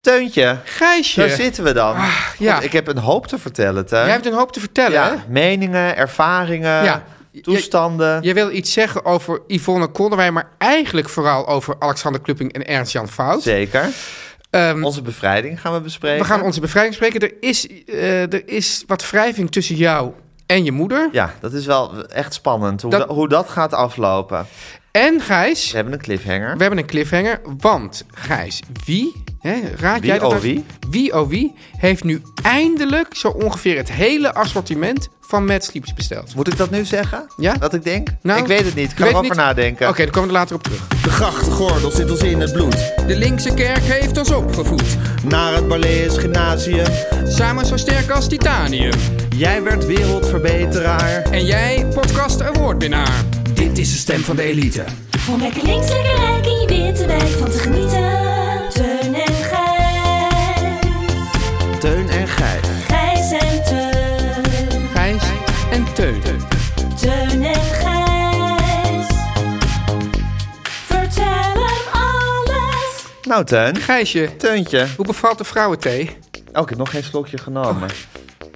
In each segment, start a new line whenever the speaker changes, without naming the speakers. Teuntje,
Gijsje.
daar zitten we dan.
Ah, ja.
Want Ik heb een hoop te vertellen, Teun.
Jij hebt een hoop te vertellen, hè?
ja, meningen, ervaringen,
Ja.
toestanden.
Je wil iets zeggen over Yvonne Kolderwijn, maar eigenlijk vooral over Alexander Klupping en Ernst-Jan Fout.
Zeker.
Ehm,
Onze bevrijding gaan we bespreken.
we gaan onze bevrijding spreken. Er is, eh, er is wat wrijving tussen jou en je moeder.
Ja, dat is wel echt spannend hoe
Dat-
dat... hoe dat gaat aflopen.
En Gijs,
We hebben een cliffhanger.
we hebben een cliffhanger. Want Gijs, wie, hè, raad
Wie
jij dat
oh
uit?
wie?
Wie oh wie heeft nu eindelijk zo ongeveer het hele assortiment van Mad Sleeps besteld?
Moet ik dat nu zeggen?
Ja?
Wat ik denk?
Nou,
ik weet het niet. Ik
je
ga
weet
erover
het niet?
nadenken.
Oké, daar komen we later op terug.
De grachtgordel zit ons in het bloed.
De linkse kerk heeft ons opgevoed,
Naar het Barlees Gymnasium.
samen zo sterk als titanium.
Jij werd wereldverbeteraar.
En jij, podcast awardwinnaar. Dit is de stem van de elite.
Om lekker links, lekker rijk in je witte wijk van te genieten. Teun en Gijs.
Teun en Gijs.
Gijs en Teun.
Gijs en Teun.
Teun en Gijs. Vertel hem alles.
Nou, Teun.
Gijsje,
Teuntje.
hoe bevalt de vrouwenthee?
Oh, ik heb nog geen slokje genomen.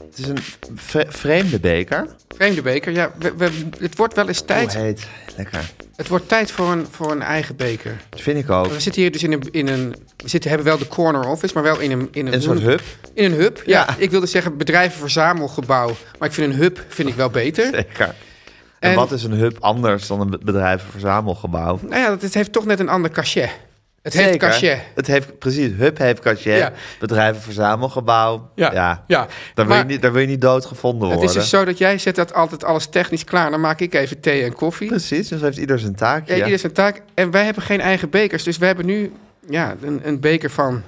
Het is een vre- vreemde beker.
Vreemde beker, ja. we- we- het wordt wel eens tijd.
Hoe heet? Lekker.
Het wordt tijd voor een, voor een eigen beker.
Dat vind ik ook.
We zitten hier dus in een. In een we zitten, hebben wel de corner office, maar wel in een. In een,
Een soort
hoe-
hub.
In een hub, ja.
Ja.
Ik wilde zeggen bedrijvenverzamelgebouw. Maar ik vind een hub vind ik wel beter.
Zeker. En,
En-
wat is een hub anders dan een be- bedrijvenverzamelgebouw?
Nou ja, dat, het heeft toch net een ander cachet. Het heeft
Zeker.
cachet.
Het heeft, precies, hub heeft cachet,
Ja.
bedrijvenverzamelgebouw. Ja, ja.
ja.
Daar, wil
Maar
je niet, daar wil je niet doodgevonden
Het
worden.
is dus zo dat jij zet dat altijd alles technisch klaar. Dan maak ik even thee en koffie.
Precies, dus heeft ieder zijn taakje.
Ja,
Ja,
ieder zijn taak. En wij hebben geen eigen bekers. Dus we hebben nu ja, een, een beker van.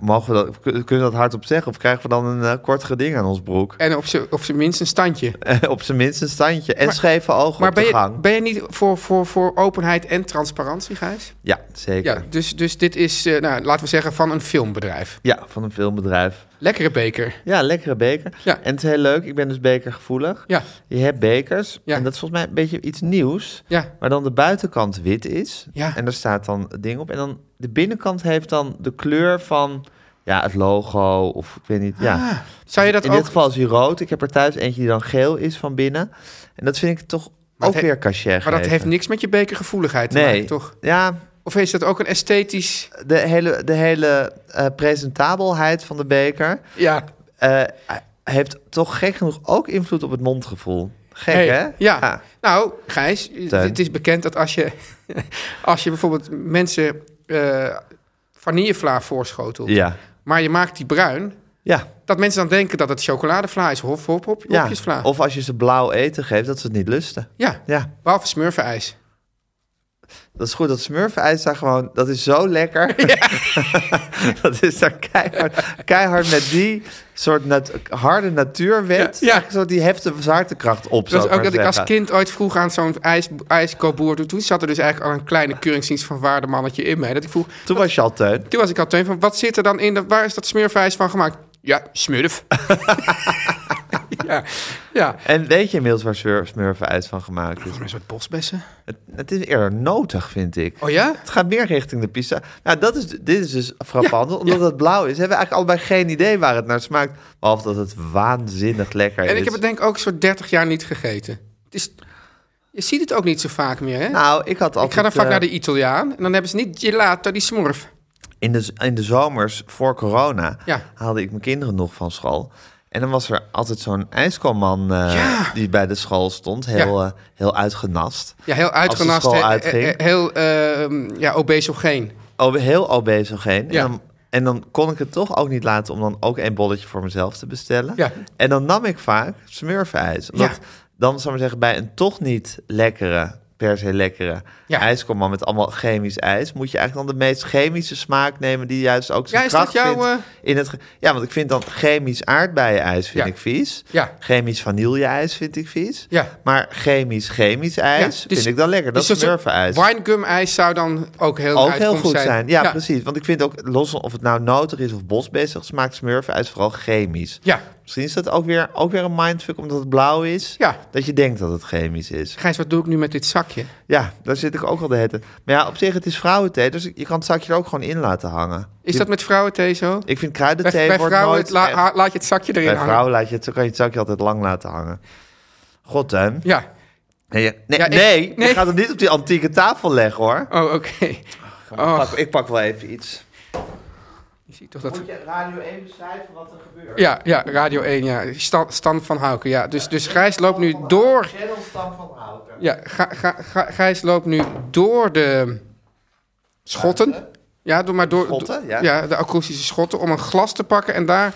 mogen we dat, kun- kunnen we dat hardop zeggen? Of krijgen we dan een eh, kort geding aan ons broek?
En op z'n- op zijn minst een standje.
op zijn minst een standje. En
Maar-
scheve ogen
Maar
op de
ben je,
gang.
ben je niet voor, voor, voor openheid en transparantie, Gijs?
Ja, zeker.
Ja,
Ja.
dus, dus dit is, eh, nou, laten we zeggen, van een filmbedrijf.
van een filmbedrijf.
Lekkere beker.
Ja, lekkere beker.
Ja.
En het is heel leuk, ik ben dus bekergevoelig.
Ja,
Je hebt bekers.
Ja.
En dat is volgens mij een beetje iets nieuws.
ja.
Waar dan de buitenkant wit is.
Ja.
En daar staat dan het ding op. En dan de binnenkant heeft dan de kleur van ja, het logo. Of ik weet niet. Ja.
Ah, Zou je dat
In
ook...
dit geval is hij rood. Ik heb er thuis eentje die dan geel is van binnen. En dat vind ik toch
Maar
ook
het he-
weer cachet
maar dat
geven.
heeft niks met je bekergevoeligheid te
Nee,
maken, toch?
ja,
Of is dat ook een esthetisch...
de hele, de hele eh, presentabelheid van de beker
Ja.
eh, heeft toch gek genoeg ook invloed op het mondgevoel. Gek,
Hey,
hè?
Ja. Nou, Gijs,
Teun.
het is bekend dat als je, als je bijvoorbeeld mensen eh vanillevla voorschotelt...
Ja.
maar je maakt die bruin...
Ja.
dat mensen dan denken dat het chocoladevla is. Hop, hop, hop,
ja.
hopjesvla.
Of als je ze blauw eten geeft, dat ze het niet lusten.
Ja,
Ja,
behalve smurfenijs.
dat is goed. Dat smurfijs daar gewoon, dat is zo lekker. dat is daar keihard, keihard met die soort nat- harde natuurwet.
Ja, ja.
Eigenlijk Zo die heft de zwaartekracht op,
Dat
zou
was
ik
ook
maar
dat ik als
zeggen.
kind ooit vroeg aan zo'n ijs, ijskoopboer... Toen, toen zat er dus eigenlijk al een kleine keuringsdienst van waardemannetje in mij. Dat ik vroeg,
Toen was je al teun.
toen was ik al teun van... Wat zit er dan in? dat- Waar is dat smurfijs van gemaakt? Ja, smurf. ja, ja.
En weet je inmiddels waar smur- smurfijs van gemaakt is?
Een soort bosbessen.
Het, het is eerder notig, vind ik.
Oh ja?
Het gaat meer richting de pizza. Nou, dat is, dit is dus frappant. omdat het blauw is, hebben we eigenlijk allebei geen idee waar het naar smaakt. Behalve dat het waanzinnig lekker is.
En ik heb het denk ik ook zo'n 30 jaar niet gegeten. Het is Je ziet het ook niet zo vaak meer, hè?
Nou, ik had altijd...
ik ga dan vaak
eh,
naar de Italiaan en dan hebben ze niet gelato, die smurf.
in, de, z- in de zomers voor corona
Ja.
haalde ik mijn kinderen nog van school. En dan was er altijd zo'n ijskalman eh,
Ja.
die bij de school stond. Heel, eh, heel uitgenast.
Ja, heel uitgenast,
Als de
he-
school
he-
uitging.
he- heel ehm, ja, obesogeen.
Obe- heel obesogeen.
Ja.
En, dan, en dan kon ik het toch ook niet laten om dan ook een bolletje voor mezelf te bestellen.
Ja.
En dan nam ik vaak smurfijs. Omdat
Ja.
dan, zou ik maar zeggen, bij een toch niet lekkere, per se lekkere
Ja.
ijskomman met allemaal chemisch ijs, moet je eigenlijk dan de meest chemische smaak nemen die juist ook zijn
Ja, is dat
kracht
jouw, eh,
vindt. In het, ge- ja, want ik vind dan chemisch aardbeienijs vind
Ja.
ik vies.
Ja.
Chemisch vanilleijs vind ik vies.
Ja.
Maar chemisch chemisch ijs
Ja, dus-
vind ik dan lekker. Dat
dus
is smurfijs
Winegum ijs zou dan ook heel
ook heel
uitkomst
goed zijn. Ja, precies. Want ik vind ook, los of het nou noter is of bosbezig, smaakt smurfijs vooral chemisch.
Ja.
Misschien is dat ook weer, ook weer een mindfuck omdat het blauw is.
Ja.
Dat je denkt dat het chemisch is.
Gijs, wat doe ik nu met dit zakje?
Ja, daar zit ik ook al de hette. Maar ja, op zich, het is vrouwenthee, dus je kan het zakje er ook gewoon in laten hangen.
Is
Je-
dat met vrouwenthee zo?
Ik vind
Bij,
kruidenthee
bij
wordt
vrouwen
nooit...
het la-
echt-
ha- laat je het zakje erin
bij
hangen.
vrouwen laat je het, kan je het zakje altijd lang laten hangen. God, Teun.
Ja.
Nee, je- nee,
Ja, ik-
nee, je
nee.
gaat het niet op die antieke tafel leggen, hoor.
Oh, oké. Oh,
Pak- ik pak wel even iets.
je ziet toch dat...
je Radio 1 beschrijven wat er gebeurt?
Ja, ja, Radio 1, ja. Stan, Stan van Houken, ja. Dus, dus Gijs loopt nu door...
Stam van Houten.
Ja, ga, ga, ga- Gijs loopt nu door de schotten. Ja, doe maar door.
Schotten,
ja.
ja.
de akoestische schotten. Om een glas te pakken. En daar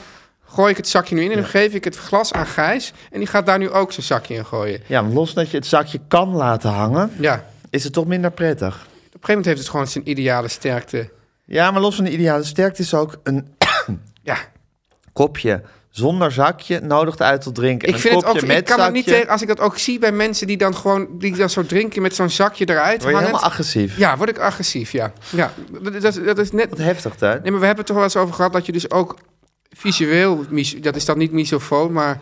gooi ik het zakje nu in. En dan geef ik het glas aan Gijs. En die gaat daar nu ook zijn zakje in gooien.
Ja, want los dat je het zakje kan laten hangen,
Ja. Op een
is het toch minder prettig.
gegeven moment heeft het gewoon zijn ideale sterkte.
Ja, maar los van de ideale sterkte is ook een
Ja.
kopje zonder zakje nodigt uit tot drinken. En
Ik
een
vind het ook.
kopje met
Ik kan het niet
zakje
tegen. Als ik dat ook zie bij mensen die dan gewoon. die dan zo drinken met zo'n zakje eruit.
Word je
hangend.
helemaal agressief.
ja, word ik agressief. Ja. ja. Dat, is- dat, is- dat is net.
Wat heftig, hè?
Nee, maar we hebben het toch wel eens over gehad dat je dus ook visueel, mis- dat is dan niet misofoo, maar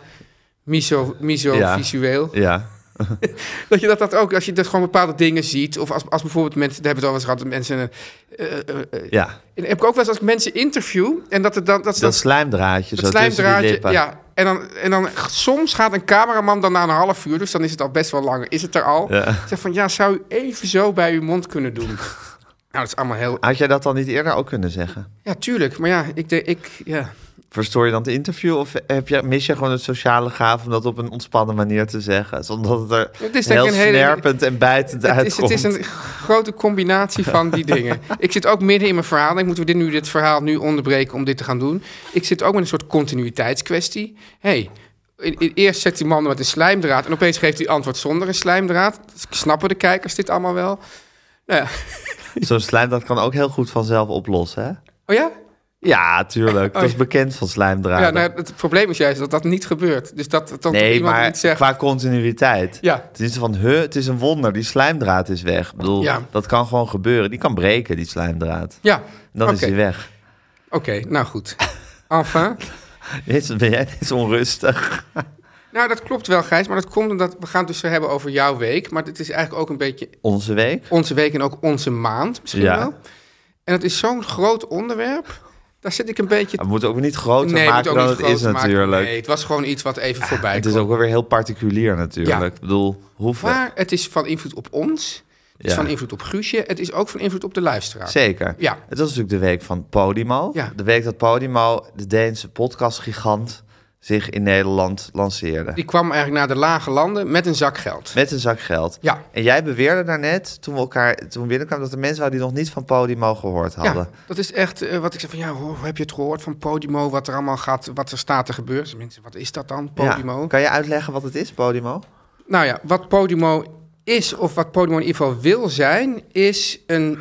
miso,
Ja.
miso-visueel.
Ja.
Dat je dat, dat ook, als je dus gewoon bepaalde dingen ziet, of als, als bijvoorbeeld mensen, daar hebben we het al eens gehad, dat mensen. eh, eh, eh,
ja.
en heb ik ook wel eens als ik mensen interview en dat het dan dat, ze
Dat
dan-
slijmdraadje
dat
zo tussen die lippen.
ja. En dan, en dan soms gaat een cameraman dan na een half uur, dus dan is het al best wel lang, is het er al.
Ja.
Zeg van ja, zou u even zo bij uw mond kunnen doen? nou, dat is allemaal heel.
Had jij dat dan niet eerder ook kunnen zeggen?
Ja, tuurlijk, maar ja, ik, de, ik ja.
Verstoor je dan het interview of heb je, mis je gewoon het sociale gaaf om dat op een ontspannen manier te zeggen? Zonder dat het er
Het is denk
heel
ik een hele-
snerpend en bijtend
Het is,
uitkomt.
het is een grote combinatie van die dingen. Ik zit ook midden in mijn verhaal. Ik moet dit, nu, dit verhaal nu onderbreken om dit te gaan doen. Ik zit ook met een soort continuïteitskwestie. hey, i- i- eerst zet die man met een slijmdraad... en opeens geeft hij antwoord zonder een slijmdraad. Snappen de kijkers dit allemaal wel? Nou ja.
Zo'n slijmdraad kan ook heel goed vanzelf oplossen, hè?
Oh ja?
Ja, tuurlijk.
Oh,
dat is
ja.
bekend van slijmdraden.
Ja, nou, het probleem is juist dat dat niet gebeurt. Dus dat, dat dan
nee,
iemand
maar
niet zegt...
qua continuïteit.
Ja.
Het is van, huh, het is een wonder, die slijmdraad is weg. Ik bedoel,
Ja.
dat kan gewoon gebeuren. Die kan breken, die slijmdraad.
Ja,
En dan
oké.
is die weg.
Oké, nou goed. Enfin...
Jezus, ben jij net onrustig?
Nou, dat klopt wel, Gijs. Maar dat komt omdat we gaan het dus zo hebben over jouw week. Maar het is eigenlijk ook een beetje
Onze week?
onze week en ook onze maand misschien
Ja.
wel. En het is zo'n groot onderwerp. Daar zit ik een beetje...
We moeten ook niet groter
we moeten
maken
ook
dan
niet
het is
groot maken.
natuurlijk. Ah,
Nee, het was gewoon iets wat even voorbij
het
kwam.
is ook wel weer heel particulier natuurlijk.
Ja.
Ik bedoel, hoeveel?
Maar het is van invloed op ons. Het is
Ja.
van invloed op Guusje. Het is ook van invloed op de luisteraar.
Zeker.
Ja.
Het was natuurlijk de week van Podimo.
Ja.
De week dat Podimo, de Deense podcastgigant, zich in Nederland lanceerde.
Die kwam eigenlijk naar de lage landen met een zak geld.
Met een zak geld.
Ja.
En jij beweerde daarnet, toen we elkaar toen we binnenkwamen, dat er mensen waren die nog niet van Podimo gehoord hadden.
Ja, dat is echt eh, wat ik zeg van ja, hoor, heb je het gehoord van Podimo? Wat er allemaal gaat, wat er staat te gebeuren. Dus Mensen, wat is dat dan, Podimo?
Ja. Kan je uitleggen wat het is, Podimo?
Nou ja, wat Podimo is, of wat Podimo in ieder geval wil zijn, is een,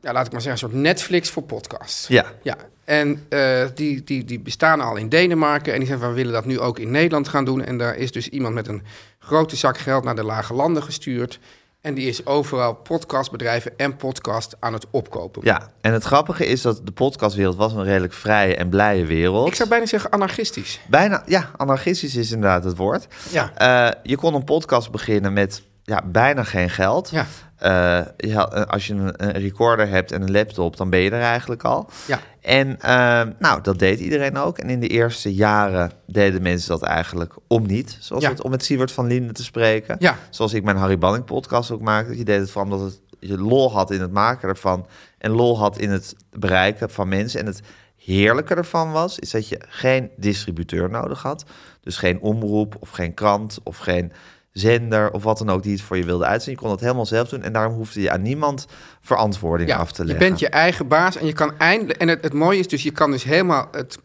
ja, laat ik maar zeggen, een soort Netflix voor podcasts.
Ja.
Ja, en eh, die, die, die bestaan al in Denemarken en die zeggen, we willen dat nu ook in Nederland gaan doen. En daar is dus iemand met een grote zak geld naar de lage landen gestuurd. En die is overal podcastbedrijven en podcast aan het opkopen.
Ja. En het grappige is dat de podcastwereld was een redelijk vrije en blije wereld.
Ik zou bijna zeggen anarchistisch.
Bijna, ja, anarchistisch is inderdaad het woord.
Ja.
Eh, je kon een podcast beginnen met ja, bijna geen geld.
Ja.
Eh, je had- eh, als je een, een recorder hebt en een laptop, dan ben je er eigenlijk al.
Ja.
En eh, nou, dat deed iedereen ook. En in de eerste jaren deden mensen dat eigenlijk om niet. Zoals
Ja.
het, om met Siewert van Linden te spreken.
Ja.
Zoals ik mijn Harry Banning podcast ook maakte. Je deed het vooral omdat het, je lol had in het maken ervan. En lol had in het bereiken van mensen. En het heerlijke ervan was, is dat je geen distributeur nodig had. Dus geen omroep of geen krant of geen zender of wat dan ook die het voor je wilde uitzenden. Je kon dat helemaal zelf doen en daarom hoefde je aan niemand verantwoording af te leggen.
Je bent je eigen baas en je kan eindelijk. En het, het mooie is dus, je kan dus helemaal het,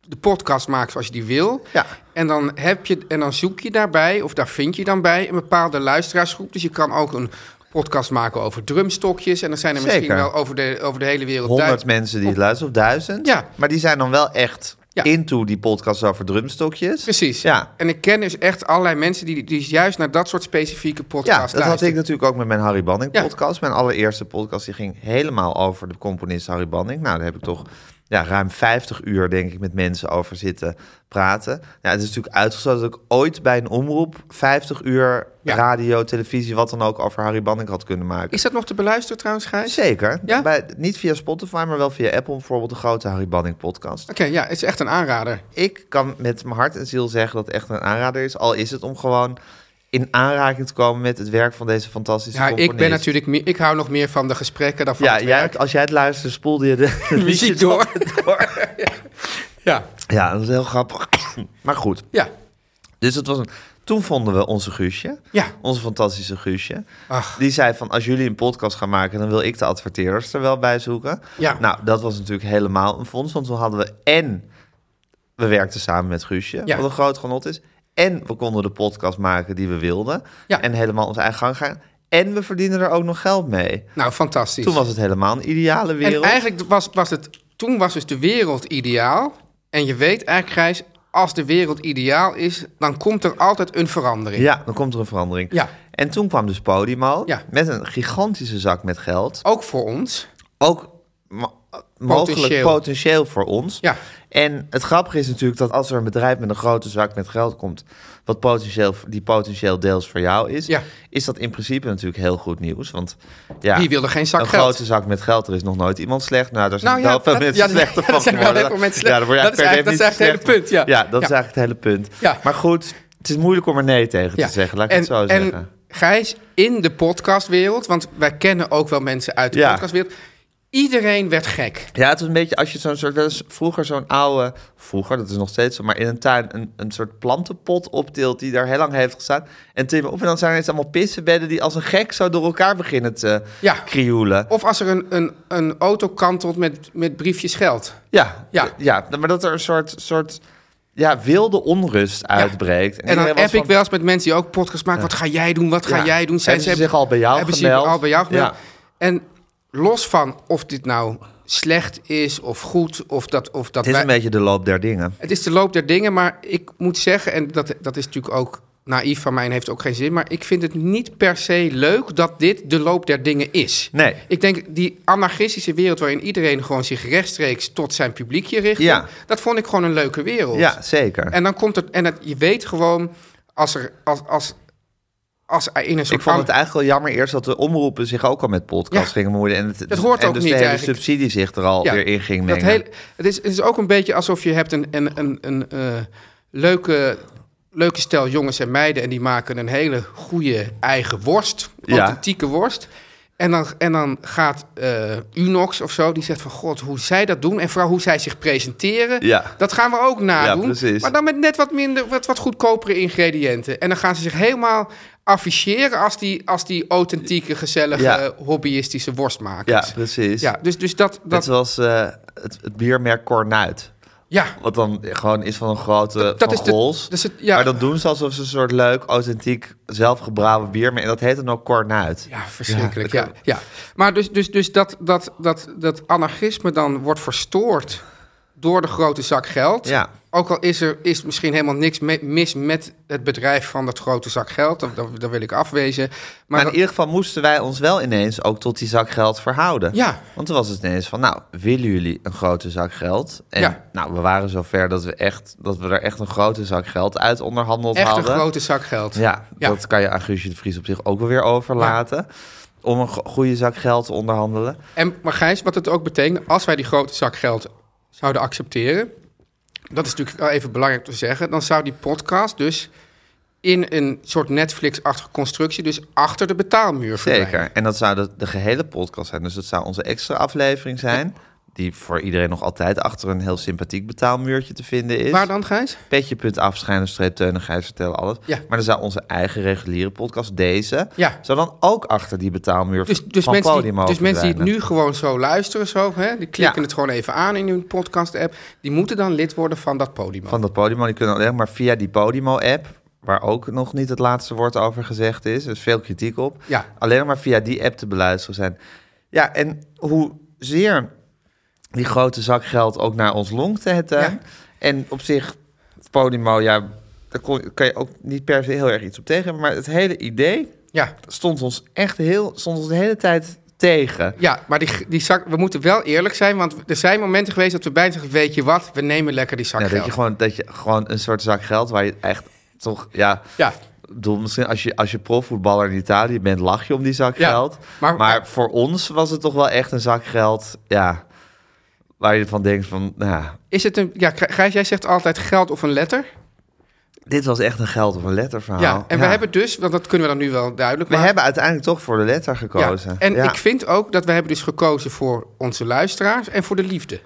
de podcast maken zoals je die wil.
Ja.
En dan, heb je, en dan zoek je daarbij, of daar vind je dan bij, een bepaalde luisteraarsgroep. Dus je kan ook een podcast maken over drumstokjes. En dan zijn er misschien
Zeker.
wel over de, over de hele wereld
honderd
duizend-
mensen die het luisteren, of duizend.
Oh. Ja.
Maar die zijn dan wel echt
Ja.
into die podcast over drumstokjes.
Precies.
Ja.
En ik ken dus echt allerlei mensen die, die juist naar dat soort specifieke podcasts
Ja, dat had
luisteren.
ik natuurlijk ook met mijn Harry Banning
Ja.
podcast. Mijn allereerste podcast die ging helemaal over de componist Harry Banning. Nou, daar heb ik toch ja, ruim 50 uur, denk ik, met mensen over zitten praten. Ja, het is natuurlijk uitgesloten dat ik ooit bij een omroep 50 uur
Ja.
radio, televisie, wat dan ook over Harry Banning had kunnen maken.
Is dat nog te beluisteren trouwens, Gijs?
Zeker.
Ja?
Bij, niet via Spotify, maar wel via Apple, bijvoorbeeld de grote Harry Banning podcast.
Oké, ja, het is echt een aanrader.
Ik kan met mijn hart en ziel zeggen dat het echt een aanrader is. Al is het om gewoon in aanraking te komen met het werk van deze fantastische
Ja, ik ben
componist.
natuurlijk meer, ik hou nog meer van de gesprekken dan van
Ja,
het
jij,
werk.
als jij het luisterde, spoelde je de, de
muziek door. ja,
Ja, dat is heel grappig. maar goed,
ja,
dus dat was een... Toen vonden we onze Guusje,
ja.
onze fantastische Guusje.
Ach.
Die zei van, als jullie een podcast gaan maken... dan wil ik de adverteerders er wel bij zoeken.
Ja.
Nou, dat was natuurlijk helemaal een fonds. Want toen hadden we en... We werkten samen met Guusje,
Ja.
wat een groot genot is. En we konden de podcast maken die we wilden.
Ja.
En helemaal onze eigen gang gaan. En we verdienden er ook nog geld mee.
Nou, fantastisch.
Toen was het helemaal een ideale wereld.
En eigenlijk was, was het, toen was dus de wereld ideaal. En je weet eigenlijk, Gijs, als de wereld ideaal is, dan komt er altijd een verandering.
Ja, dan komt er een verandering.
Ja.
En toen kwam dus Podimo
Ja.
met een gigantische zak met geld.
Ook voor ons.
Ook mo- mogelijk potentieel voor ons.
Ja.
En het grappige is natuurlijk dat als er een bedrijf met een grote zak met geld komt, wat potentieel, die potentieel deels voor jou is,
Ja.
is dat in principe natuurlijk heel goed nieuws. Want ja,
Wie wil er geen zak
een
geld?
grote zak met geld, er is nog nooit iemand slecht. Nou, daar zijn
Nou
wel
ja,
veel
dat-
mensen
ja,
slechter
ja,
van
er zijn wel
geworden.
heel veel mensen
Ja, daar word je
slecht. Dat is
eigenlijk per
eigenlijk-
definitie
dat is eigenlijk
slechter.
het punt, ja.
dat is
Ja.
eigenlijk het hele punt.
Ja.
Maar goed, het is moeilijk om er nee tegen te zeggen, laat ik
en,
het zo
en
zeggen.
Gijs, in de podcastwereld, want wij kennen ook wel mensen uit de
Ja.
podcastwereld. Iedereen werd gek.
Ja, het was een beetje als je zo'n soort wel eens vroeger zo'n oude, vroeger, dat is nog steeds zo, maar in een tuin een, een soort plantenpot optilt die daar heel lang heeft gestaan. En tim op en dan zijn er ineens allemaal pissenbedden die als een gek zo door elkaar beginnen te
Ja.
krioelen.
Of als er een, een, een auto kantelt met, met briefjes geld.
Ja,
Ja.
ja. ja, maar dat er een soort, soort ja, wilde onrust uitbreekt.
En dan
iedereen was
heb ik
van,
wel eens met mensen die ook podcast maken. Wat ga jij doen? Wat ga
Ja.
jij doen?
Hebben ze zich al bij jou
hebben
gemeld?
Ze zich al bij jou gemeld?
Ja.
En los van of dit nou slecht is of goed of dat, of dat
Het is
wij-
een beetje de loop der dingen.
Het is de loop der dingen, maar ik moet zeggen, en dat, dat is natuurlijk ook naïef van mij en heeft ook geen zin, maar ik vind het niet per se leuk dat dit de loop der dingen is.
Nee.
Ik denk die anarchistische wereld waarin iedereen gewoon zich rechtstreeks tot zijn publiekje richt,
Ja.
dat vond ik gewoon een leuke wereld.
Ja, zeker.
En dan komt het, en het, je weet gewoon, als er, als, als, als er in een soort...
Ik vond het
an-
eigenlijk wel jammer eerst dat de omroepen zich ook al met podcasts
Ja.
gingen bemoeien. En het,
Dat hoort
en
ook
dus
niet
de hele
eigenlijk.
subsidie zich er al
Ja.
weer in ging
dat
mengen.
hele, het, is, het is ook een beetje alsof je hebt een, een, een, een eh, leuke, leuke stel jongens en meiden... en die maken een hele goede eigen worst,
Ja.
authentieke worst... En dan, en dan gaat eh, Unox of zo, die zegt van... God, hoe zij dat doen en vooral hoe zij zich presenteren...
Ja.
dat gaan we ook nadoen.
precies.
maar dan met net wat minder, wat, wat goedkopere ingrediënten. En dan gaan ze zich helemaal afficheren als die, als die authentieke, gezellige,
Ja.
hobbyistische worstmakers.
Ja, precies.
Ja, dus, dus dat...
Dat
dat
was eh, het, het biermerk Cornuit.
ja,
Wat dan gewoon is van een grote dat,
dat
van
is de-
Gols.
dus het- ja.
Maar dat doen ze alsof ze een soort leuk, authentiek, zelfgebrouwen bier. Maar en dat heet dan ook Cornuit.
Ja, verschrikkelijk. Ja, ja, Maar dus, dus, dus dat, dat, dat, dat anarchisme dan wordt verstoord door de grote zak geld.
Ja.
Ook al is er is misschien helemaal niks me- mis met het bedrijf van dat grote zak geld. Dat, dat, dat wil ik afwezen. Maar,
Maar in ieder geval moesten wij ons wel ineens ook tot die zak geld verhouden.
Ja.
Want toen was het ineens van, nou, willen jullie een grote zak geld? En
Ja.
nou, we waren zover dat we, echt, dat we er echt een grote zak geld uit onderhandeld
echt een
hadden.
grote zak geld.
Ja,
Ja.
dat kan je aan Guusje de Vries op zich ook wel weer overlaten. Om een go- goede zak geld te onderhandelen.
En, maar Gijs, wat het ook betekent, als wij die grote zak geld zouden accepteren, dat is natuurlijk wel even belangrijk te zeggen, dan zou die podcast dus in een soort Netflix-achtige constructie, dus achter de betaalmuur verdwijnen.
Zeker. En dat zou de, de gehele podcast zijn. Dus dat zou onze extra aflevering zijn. Die voor iedereen nog altijd achter een heel sympathiek betaalmuurtje te vinden is.
Waar dan, Gijs?
Petje.af, streep teunigheid, vertellen alles.
Ja.
Maar dan zou onze eigen reguliere podcast, deze,
Ja.
zou dan ook achter die betaalmuur
Dus, dus,
van
mensen, die,
Podimo
dus mensen die het
verdwijnen.
nu gewoon zo luisteren, zo, hè, die klikken
Ja.
het gewoon even aan in hun podcast-app, die moeten dan lid worden van dat podium.
Van dat Podimo, die kunnen alleen maar via die Podimo-app, waar ook nog niet het laatste woord over gezegd is, er is veel kritiek op,
Ja.
alleen maar via die app te beluisteren zijn. Ja, en hoezeer die grote zak geld ook naar ons longt het
Ja.
en op zich Podimo, ja, daar kon, kan je ook niet per se heel erg iets op tegen hebben, maar het hele idee
Ja.
stond ons echt heel, stond ons de hele tijd tegen.
Ja, maar die, die zak, we moeten wel eerlijk zijn, want er zijn momenten geweest dat we bijna zeggen, weet je wat, we nemen lekker die zak
Ja, dat,
geld.
je gewoon, dat je gewoon een soort zak geld waar je echt toch, ja.
Ja.
Ik bedoel, misschien als je, als je profvoetballer in Italië bent, lach je om die zak
Ja,
geld.
maar-
Maar, voor ons was het toch wel echt een zak geld, ja. Waar je van denkt van, nou, ja,
Is het een, ja, Gij- Gijs, jij zegt altijd geld of een letter.
dit was echt een geld of een letterverhaal.
ja, en we hebben dus, want dat kunnen we dan nu wel duidelijk
Nou, we
maken.
hebben uiteindelijk toch voor de letter gekozen.
Ja, en
ja.
ik vind ook dat we hebben dus gekozen voor onze luisteraars en voor de liefde.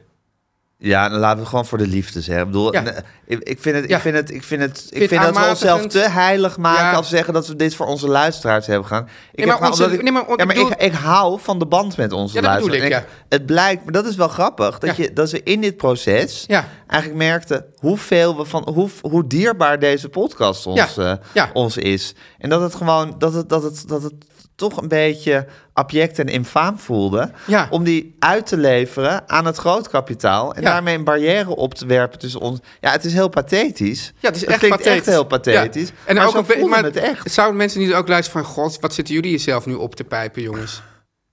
Ja, dan laten we gewoon voor de liefde zeggen. Ik bedoel,
Ja.
nee, ik, ik vind het,
Ja.
ik vind het, ik vind het, ik
het
vind, dat we onszelf
aanmatigend.
te heilig maken
Ja.
als we zeggen dat we dit voor onze luisteraars hebben gedaan. Ik heb
maar
gewoon-
onze-
omdat ik,
nee, maar on-
ja, maar
ik
ik,
bedoel-
ik hou van de band met onze
Ja, dat bedoel
luisteraars.
ik,
En Het blijkt, maar dat is wel grappig dat
Ja.
je dat we in dit proces
Ja.
eigenlijk merkten hoeveel we van hoe, hoe dierbaar deze podcast ons,
Ja.
eh,
Ja.
ons is en dat het gewoon dat het dat het dat het toch een beetje abject en infaam voelde
Ja.
om die uit te leveren aan het grootkapitaal en
Ja.
daarmee een barrière op te werpen tussen ons. Ja, het is heel pathetisch.
Ja, het is echt
klinkt
pathetisch.
echt heel pathetisch.
Ja.
En maar ook zo
een be-
voelde
maar
het echt.
Zouden mensen niet ook luisteren van, god, wat zitten jullie jezelf nu op te pijpen, jongens?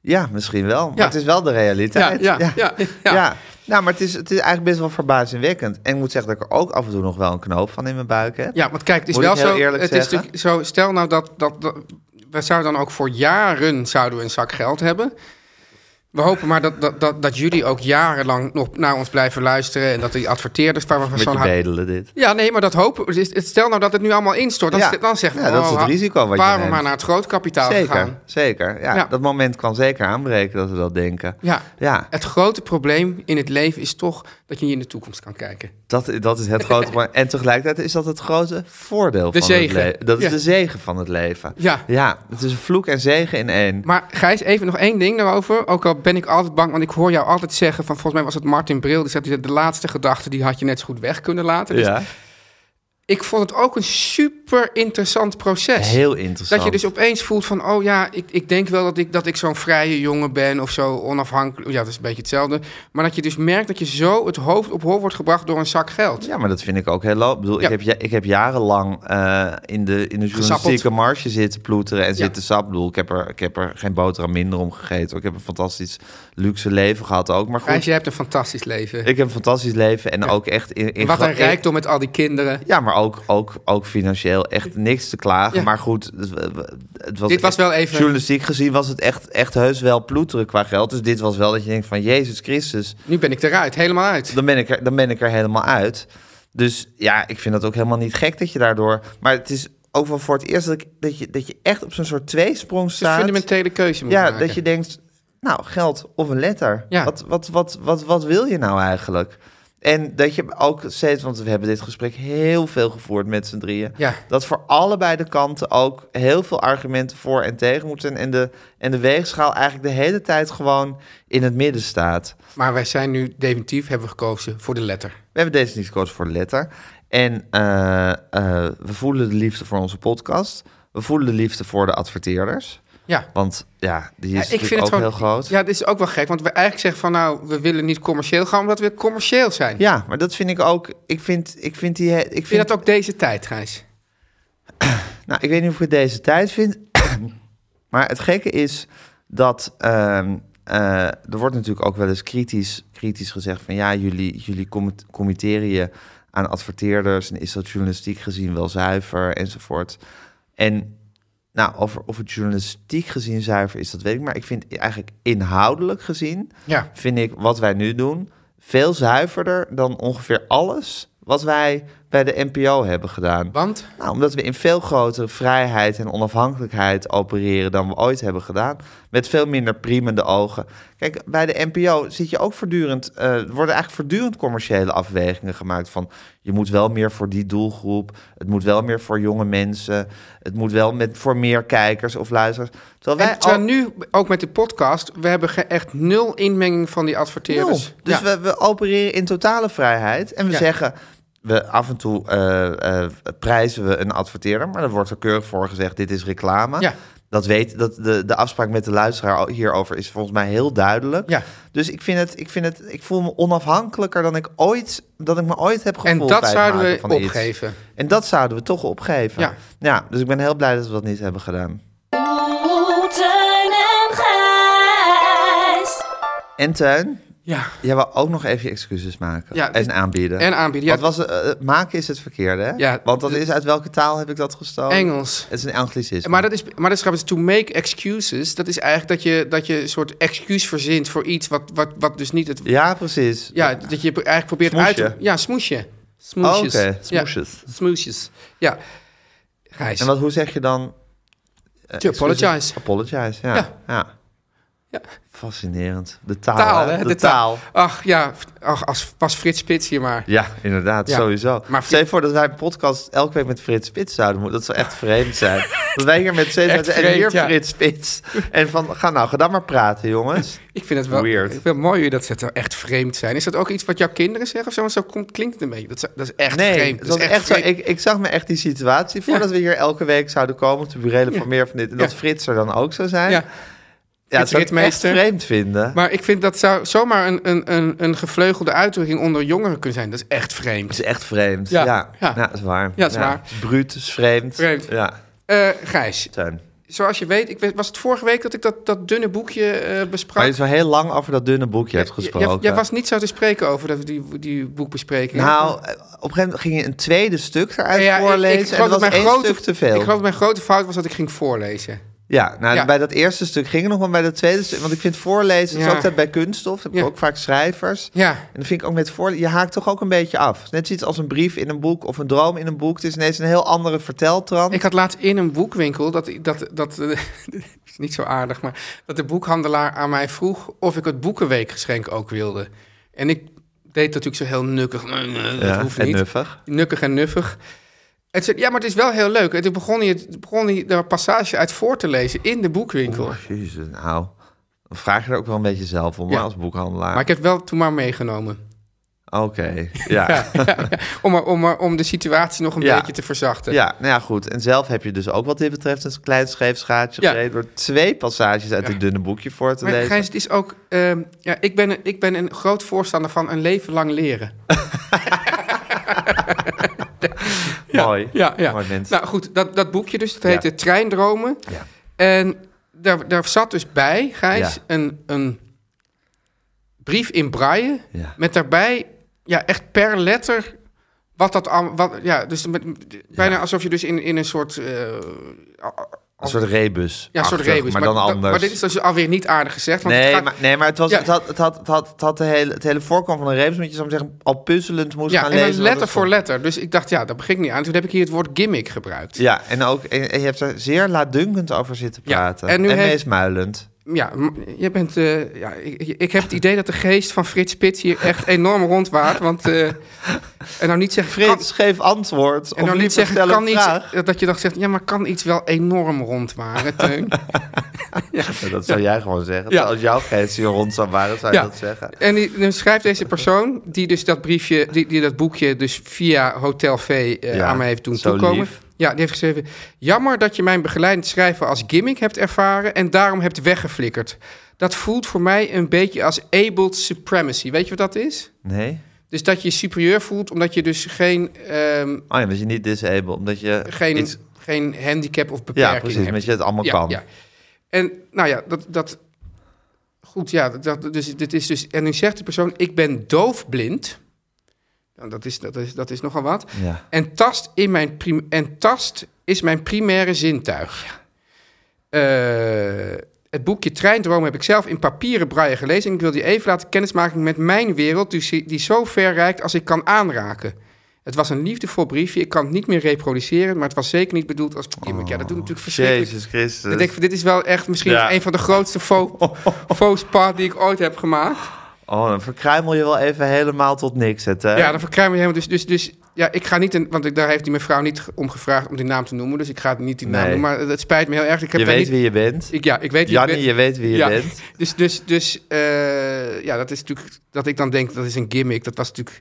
Ja, misschien wel. Maar
Ja.
het is wel de realiteit.
Ja, ja, ja, ja.
Nou, maar het is, het is eigenlijk best wel verbazingwekkend. En ik moet zeggen dat ik er ook af en toe nog wel een knoop van in mijn buik heb.
Ja, want kijk, het is
Moet
wel
ik heel
zo.
eerlijk
het is
zeggen?
natuurlijk zo. Stel nou dat, dat, dat- we zouden dan ook voor jaren zouden we een zak geld hebben. We hopen maar dat, dat, dat, dat jullie ook jarenlang nog naar ons blijven luisteren en dat die adverteerders waar we
Met
van
je
houden.
bedelen dit.
Ja, nee, maar dat hopen. het is- het- Stel nou dat het nu allemaal instort, dan,
Ja.
st- dan zegt
Ja, dat is het risico wat je
Waar we
neemt.
maar naar het grootkapitaal
Zeker,
gaan.
zeker. Ja,
Ja.
Dat moment kan zeker aanbreken dat we dat denken.
Ja.
Ja.
Het grote probleem in het leven is toch dat je niet in de toekomst kan kijken.
Dat, dat is het grote. probleem. En tegelijkertijd is dat het grote voordeel
De
van
zegen.
het leven. Dat is
Ja.
de zegen van het leven.
Ja.
ja, het is een vloek en zegen in één.
Maar Gijs, even nog één ding daarover. Ook al ben ik altijd bang, want ik hoor jou altijd zeggen... van volgens mij was het Martin Bril, die zei... de laatste gedachte, die had je net zo goed weg kunnen laten. Dus
ja.
ik vond het ook een super interessant proces.
Heel interessant.
Dat je dus opeens voelt van, oh ja, ik, ik denk wel dat ik, dat ik zo'n vrije jongen ben of zo onafhankelijk. Ja, dat is een beetje hetzelfde. Maar dat je dus merkt dat je zo het hoofd op hol wordt gebracht door een zak geld.
Ja, maar dat vind ik ook heel loop. Ik bedoel,
Ja.
ik, heb, ja- ik heb jarenlang eh, in, de, in de journalistieke
Gesappeld.
marge zitten ploeteren en zitten sap. Ik bedoel, ik heb, er, ik heb er geen boterham minder om gegeten. Ik heb een fantastisch luxe leven gehad ook. Maar goed,
Gijs, je hebt een fantastisch leven.
ik heb een fantastisch leven en ook echt... In, in
En wat
gro-
een rijkdom met al die kinderen.
Ja, maar ook, ook, ook financieel echt niks te klagen.
Ja.
Maar goed, het, het was,
Dit was wel even-
Journalistiek gezien was het echt, echt heus wel ploeteren qua geld. Dus dit was wel dat je denkt van, Jezus Christus,
Nu ben ik eruit, helemaal uit.
dan ben ik er, dan ben ik er helemaal uit. Dus ja, ik vind dat ook helemaal niet gek dat je daardoor... Maar het is ook wel voor het eerst dat, ik, dat, je, dat je echt op zo'n soort tweesprong
Het is een
staat.
fundamentele keuze moet
Ja,
maken.
dat je denkt, nou, geld of een letter.
Ja.
Wat, wat, wat, wat, wat wil je nou eigenlijk? En dat je ook steeds, want we hebben dit gesprek heel veel gevoerd met z'n drieën.
Ja.
Dat voor allebei de kanten ook heel veel argumenten voor en tegen moeten. En de, en de weegschaal eigenlijk de hele tijd gewoon in het midden staat.
Maar wij zijn nu definitief, hebben we gekozen voor de letter.
We hebben deze niet gekozen voor de letter. En eh, eh, we voelen de liefde voor onze podcast. We voelen de liefde voor de adverteerders.
Ja.
Want ja, die is
Ja,
natuurlijk ook
gewoon-
heel groot. Ja.
Ja, dit is ook wel gek. Want we eigenlijk zeggen van nou, we willen niet commercieel gaan, omdat we commercieel zijn.
maar dat vind ik ook. Ik vind, ik vind die. he- Ik
Vind je
vind,
dat ook deze tijd, Gijs?
Nou, ik weet niet of ik het deze tijd vind. maar het gekke is dat. ehm, eh, er wordt natuurlijk ook wel eens kritisch, kritisch gezegd van ja, jullie, jullie commit- committeren je aan adverteerders en is dat journalistiek gezien wel zuiver enzovoort. En nou, of, of het journalistiek gezien zuiver is, dat weet ik, maar ik vind eigenlijk inhoudelijk gezien,
Ja.
vind ik wat wij nu doen veel zuiverder dan ongeveer alles wat wij bij de NPO hebben gedaan.
Want?
Nou, omdat we in veel grotere vrijheid en onafhankelijkheid opereren dan we ooit hebben gedaan. Met veel minder priemende ogen. Kijk, bij de NPO zit je ook voortdurend. eh, er worden eigenlijk voortdurend commerciële afwegingen gemaakt. Van je moet wel meer voor die doelgroep. Het moet wel meer voor jonge mensen. Het moet wel met, voor meer kijkers of luisteraars. Terwijl wij
en terwijl
al-
nu, ook met de podcast, we hebben ge- echt nul inmenging van die adverteerders.
Nul. Dus
Ja.
we, we opereren in totale vrijheid. En we
Ja.
zeggen, we af en toe eh, eh, prijzen we een adverteerder, maar er wordt er keurig voor gezegd, dit is reclame.
Ja.
Dat weet, dat de, de afspraak met de luisteraar al- hierover is volgens mij heel duidelijk.
Ja.
Dus ik vind het, ik vind het, ik voel me onafhankelijker dan ik ooit, dat ik me ooit heb gevoeld.
En dat
bij het
zouden
maken
we
van iets.
opgeven.
En dat zouden we toch opgeven.
Ja.
ja, dus ik ben heel blij dat we dat niet hebben gedaan.
Oeh, Oh, Teun en Gijs.
En Tuin,
Ja.
Jij wou ook nog even je excuses maken
Ja,
en
dit-
aanbieden.
en aanbieden, ja.
Wat was, eh, eh, maken is het verkeerde, hè?
Ja,
Want dat
dit-
is uit welke taal heb ik dat gestolen?
Engels.
Het is een anglicisme.
Maar dat is, maar dat is grappig. To make excuses, dat is eigenlijk dat je, dat je een soort excuus verzint voor iets wat, wat, wat dus niet het...
Ja, precies.
Ja, dat je eigenlijk probeert
Smoesje.
uit te... Ja, smoesje. Smoesjes.
Oh, oké,
Ja,
smoesjes.
smoesjes. Ja. Gijs.
En wat, hoe zeg je dan? eh,
To apologize.
excuses? Apologize, ja.
Ja.
ja.
Ja.
Fascinerend. De taal,
taal,
hè?
hè?
De, taal.
Ach ja, ach, als, was Frits Spits hier maar.
Ja, inderdaad,
Ja.
sowieso.
Maar
Maar Stel je voor dat wij een podcast elke week met Frits Spits zouden moeten. Dat zou echt vreemd zijn. dat wij hier met steeds...
Echt
en hier
vreemd, ja.
Frits Spits. En van, ga nou, ga dan maar praten, jongens.
Ik vind het wel,
Weird.
Ik vind het mooi hoe je dat zet. Echt vreemd zijn. Is dat ook iets wat jouw kinderen zeggen of zo? Want zo komt, klinkt het een beetje. Dat is, dat is echt
nee,
vreemd.
Dat is echt zo,
vreemd.
ik, ik zag me echt die situatie voordat we hier elke week zouden komen op de burelen van meer van dit. En dat
Ja.
Frits er dan ook zou zijn.
Ja.
Ja, dat zou ik echt
ritmeester.
vreemd vinden.
Maar ik vind dat zou zomaar een, een, een, een gevleugelde uitdrukking onder jongeren kunnen zijn. Dat is echt vreemd.
Het is echt vreemd.
Ja,
Ja, ja.
ja.
dat is waar.
Ja, dat is waar.
Bruut, is vreemd.
Vreemd.
Ja,
Eh, Gijs,
tuin.
zoals je weet, ik weet, was het vorige week dat ik dat, dat dunne boekje eh, besprak?
Maar je is wel heel lang over dat dunne boekje hebt
Jij-
gesproken.
Jij, jij was niet zo te spreken over dat, die, die boekbespreking.
Nou, eh, op een gegeven moment ging je een tweede stuk eruit
Ja, ja, ik-
voorlezen.
ik geloof
en dat
dat
was
mijn
één
grote-
stuk te veel.
Ik geloof dat mijn grote fout was dat ik ging voorlezen.
Ja, nou,
Ja.
bij dat eerste stuk ging het nog, maar bij dat tweede stuk... Want ik vind voorlezen, het
Ja.
is altijd bij kunststof, dat heb
Ja.
ik ook vaak schrijvers.
Ja.
En dan vind ik ook met voor, je haakt toch ook een beetje af. Het is Net zoiets als een brief in een boek of een droom in een boek. Het is ineens een heel andere verteltrand.
Ik had laatst in een boekwinkel, dat, dat, dat eh, is niet zo aardig, maar dat de boekhandelaar aan mij vroeg of ik het boekenweekgeschenk ook wilde. En ik deed natuurlijk zo heel nukkig. Nee, nee, dat
Ja,
hoeft
en
niet.
nuffig.
Nukkig en nuffig. En ze- ja, maar het is wel heel leuk. En toen begon hij, het- begon hij daar passage uit voor te lezen in de boekwinkel.
Jezus, nou... Dan vraag je er ook wel een beetje zelf om,
Ja.
hè, als boekhandelaar.
Maar ik heb het wel toen maar meegenomen.
Oké, ja. ja.
Om, maar- om, maar- om de situatie nog een
Ja.
beetje te verzachten.
nou ja, goed. En zelf heb je dus ook wat dit betreft een klein scheef schaatje
Ja.
gereden... door twee passages uit
Ja.
het dunne boekje voor te
Maar
lezen.
Gijs, het is ook... ehm, ja, ik, ben, een- ik ben een groot voorstander van een leven lang leren.
Mooi.
Ja, ja.
Mooi mens.
Nou goed, dat, dat boekje dus, dat heette
Ja.
Treindromen.
Ja.
En daar, daar zat dus bij, Gijs,
Ja.
een, een brief in braille...
Ja.
met daarbij ja, echt per letter wat dat... allemaal- Wat, ja, dus met, bijna alsof je dus in, in een soort... eh,
Een soort rebus.
ja, een soort rebus.
Maar dan
dat-
anders.
Maar dit is dus alweer niet aardig gezegd. Want het
Nee,
gaat-
maar, nee, maar het, was,
Ja.
het had, het had, het had, het had de hele, het hele voorkomen van een rebus, moet je zou maar zeggen, al puzzelend moest
ja,
gaan
en
lezen.
dan
wat er
letter voor
stond.
letter. Dus ik dacht, ja, dat begin ik niet aan. Toen heb ik hier het woord gimmick gebruikt.
Ja, en, ook, en, en je hebt er zeer laatdunkend over zitten
Ja,
praten.
en
en
nu heeft-
meesmuilend.
Ja, m- je bent, eh, ja ik, ik heb het idee dat de geest van Frits Spits hier echt enorm rondwaart. Want, eh, en nou niet zeggen...
Frits, geef antwoord.
kan, en
of
nou niet
liever
zeggen,
stel een
kan iets,
vraag.
dat je dan zegt, ja, maar kan iets wel enorm rondwaren, Teun?
Ja, dat zou jij gewoon zeggen. Als jouw geest hier rond zou waren, zou
Ja.
je dat zeggen.
En die, dan schrijft deze persoon, die dus dat briefje, die, die dat boekje dus via Hotel V eh,
Ja,
aan mij heeft doen
zo
toekomen.
lief.
Ja, Ja, die heeft geschreven... Jammer dat je mijn begeleidend schrijven als gimmick hebt ervaren... en daarom hebt weggeflikkerd. Dat voelt voor mij een beetje als abled supremacy. Weet je wat dat is?
Nee?
Dus dat je je superieur voelt omdat je dus geen, ehm,
Oh ja, dat je niet disabled, omdat je
geen,
iets...
geen handicap of beperking
Ja, precies,
hebt.
omdat je het allemaal kan.
Ja. En nou ja, dat. dat goed, ja, dat, dus, dit is dus. En nu zegt de persoon: Ik ben doofblind. Nou, dat, is, dat, is, dat is nogal wat.
Ja.
En, tast in mijn prim- en tast is mijn primaire zintuig. Eh, het boekje Treindroom heb ik zelf in papieren braille gelezen. En ik wil je even laten kennismaken met mijn wereld, die, die zo ver reikt als ik kan aanraken. Het was een liefdevol briefje. Ik kan het niet meer reproduceren, maar het was zeker niet bedoeld als gimmick. ja, dat doet natuurlijk verschrikkelijk
Jezus Christus.
ik denk, van, dit is wel echt misschien
Dus- Ja.
een van de grootste faux, faux pas die ik ooit heb gemaakt.
Oh, dan verkruimel je wel even helemaal tot niks. Het, hè?
Ja, dan verkrijgen we helemaal. Dus, dus, dus ja, ik ga niet, een, want ik, daar heeft die mevrouw niet ge- om gevraagd om die naam te noemen. Dus ik ga het niet die naam
Nee.
noemen. Maar het spijt me heel erg. Ik heb
je
daar
weet
niet,
wie je bent.
ik, ja, ik weet wie ik
Jannie,
ben.
je weet wie je
Ja.
bent.
Dus, dus, dus eh, ja, dat is natuurlijk dat ik dan denk dat is een gimmick. Dat was natuurlijk.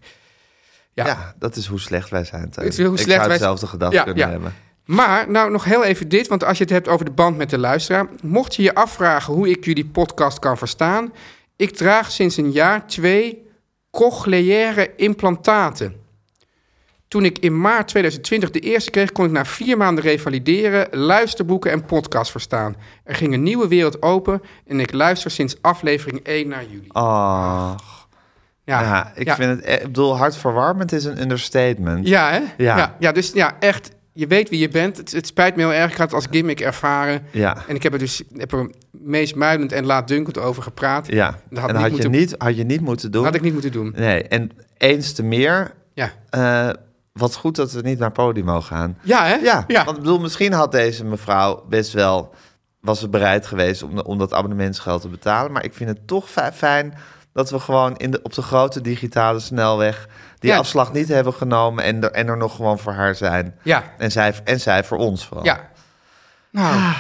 Ja.
Ja. dat is hoe slecht wij zijn. Teun.
Het is hoe
ik
slecht
zou
wij-
hetzelfde gedacht
Ja,
kunnen
ja.
hebben.
Maar nou nog heel even dit, want als je het hebt over de band met de luisteraar, mocht je je afvragen hoe ik jullie podcast kan verstaan, ik draag sinds een jaar twee cochleaire implantaten. Toen ik in maart 2020 de eerste kreeg, kon ik na vier maanden revalideren, luisterboeken en podcasts verstaan. Er ging een nieuwe wereld open en ik luister sinds aflevering 1 naar jullie.
Oh,
Ja,
ja, ik
ja.
vind het... eh, Ik bedoel, hartverwarmend is een understatement.
Ja, hè?
Ja.
ja. ja, dus ja, echt. Je weet wie je bent. Het, het spijt me heel erg. Ik had het als gimmick ervaren.
Ja.
En ik heb er dus heb er meest muilend en laatdunkend over gepraat.
Ja.
Dat had
en
ik
had,
niet
je
moeten-
niet, had je niet moeten doen.
Dat had ik niet moeten doen.
Nee, en eens te meer...
Ja,
eh, wat goed dat we niet naar Podimo gaan.
ja hè?
Ja,
ja.
want ik bedoel, misschien had deze mevrouw best wel... was ze bereid geweest om, de- om dat abonnementsgeld te betalen. Maar ik vind het toch fi- fijn dat we gewoon in de, op de grote digitale snelweg... die
Ja.
afslag niet hebben genomen en er, en er nog gewoon voor haar zijn.
Ja.
En zij, en zij voor ons vooral.
Ja. Nou,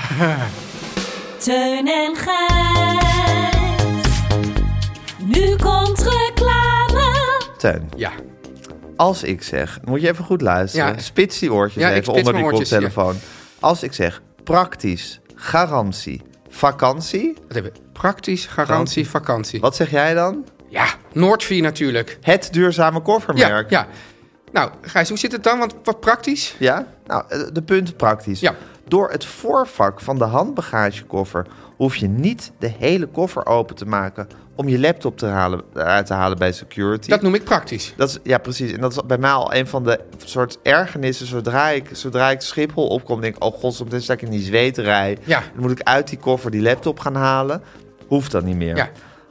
Teun en Gijs. Nu komt reclame.
Teun,
ja.
als ik zeg... moet je even goed luisteren.
Ja.
Spits die oortjes
Ja, ik
even
spits
onder die
mijn oortjes, ja.
koptelefoon. Als ik zeg praktisch, garantie, vakantie...
Wat hebben we? Praktisch, garantie, vakantie.
wat zeg jij dan?
Ja, Noordvier natuurlijk.
Het duurzame
Ja,
koffermerk.
ja. Nou, Gijs, hoe zit het dan? Want wat praktisch?
Ja? Nou, eh, de punt praktisch.
Ja.
Door het voorvak van de handbagagekoffer hoef je niet de hele koffer open te maken om je laptop te halen, uit te halen bij security.
Dat noem ik praktisch.
Dat is, ja, precies. En dat is bij mij al een van de soort ergernissen. Zodra ik, zodra ik Schiphol opkom, denk ik... oh god, soms sta ik in die zweterij.
Ja.
Dan moet ik uit die koffer die laptop gaan halen. Hoeft dat niet meer.
Ja.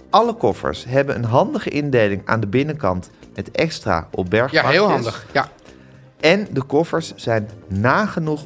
Alle koffers hebben een handige indeling aan de binnenkant... met extra op
Ja,
bergpakjes.
heel handig. Ja,
En de koffers zijn nagenoeg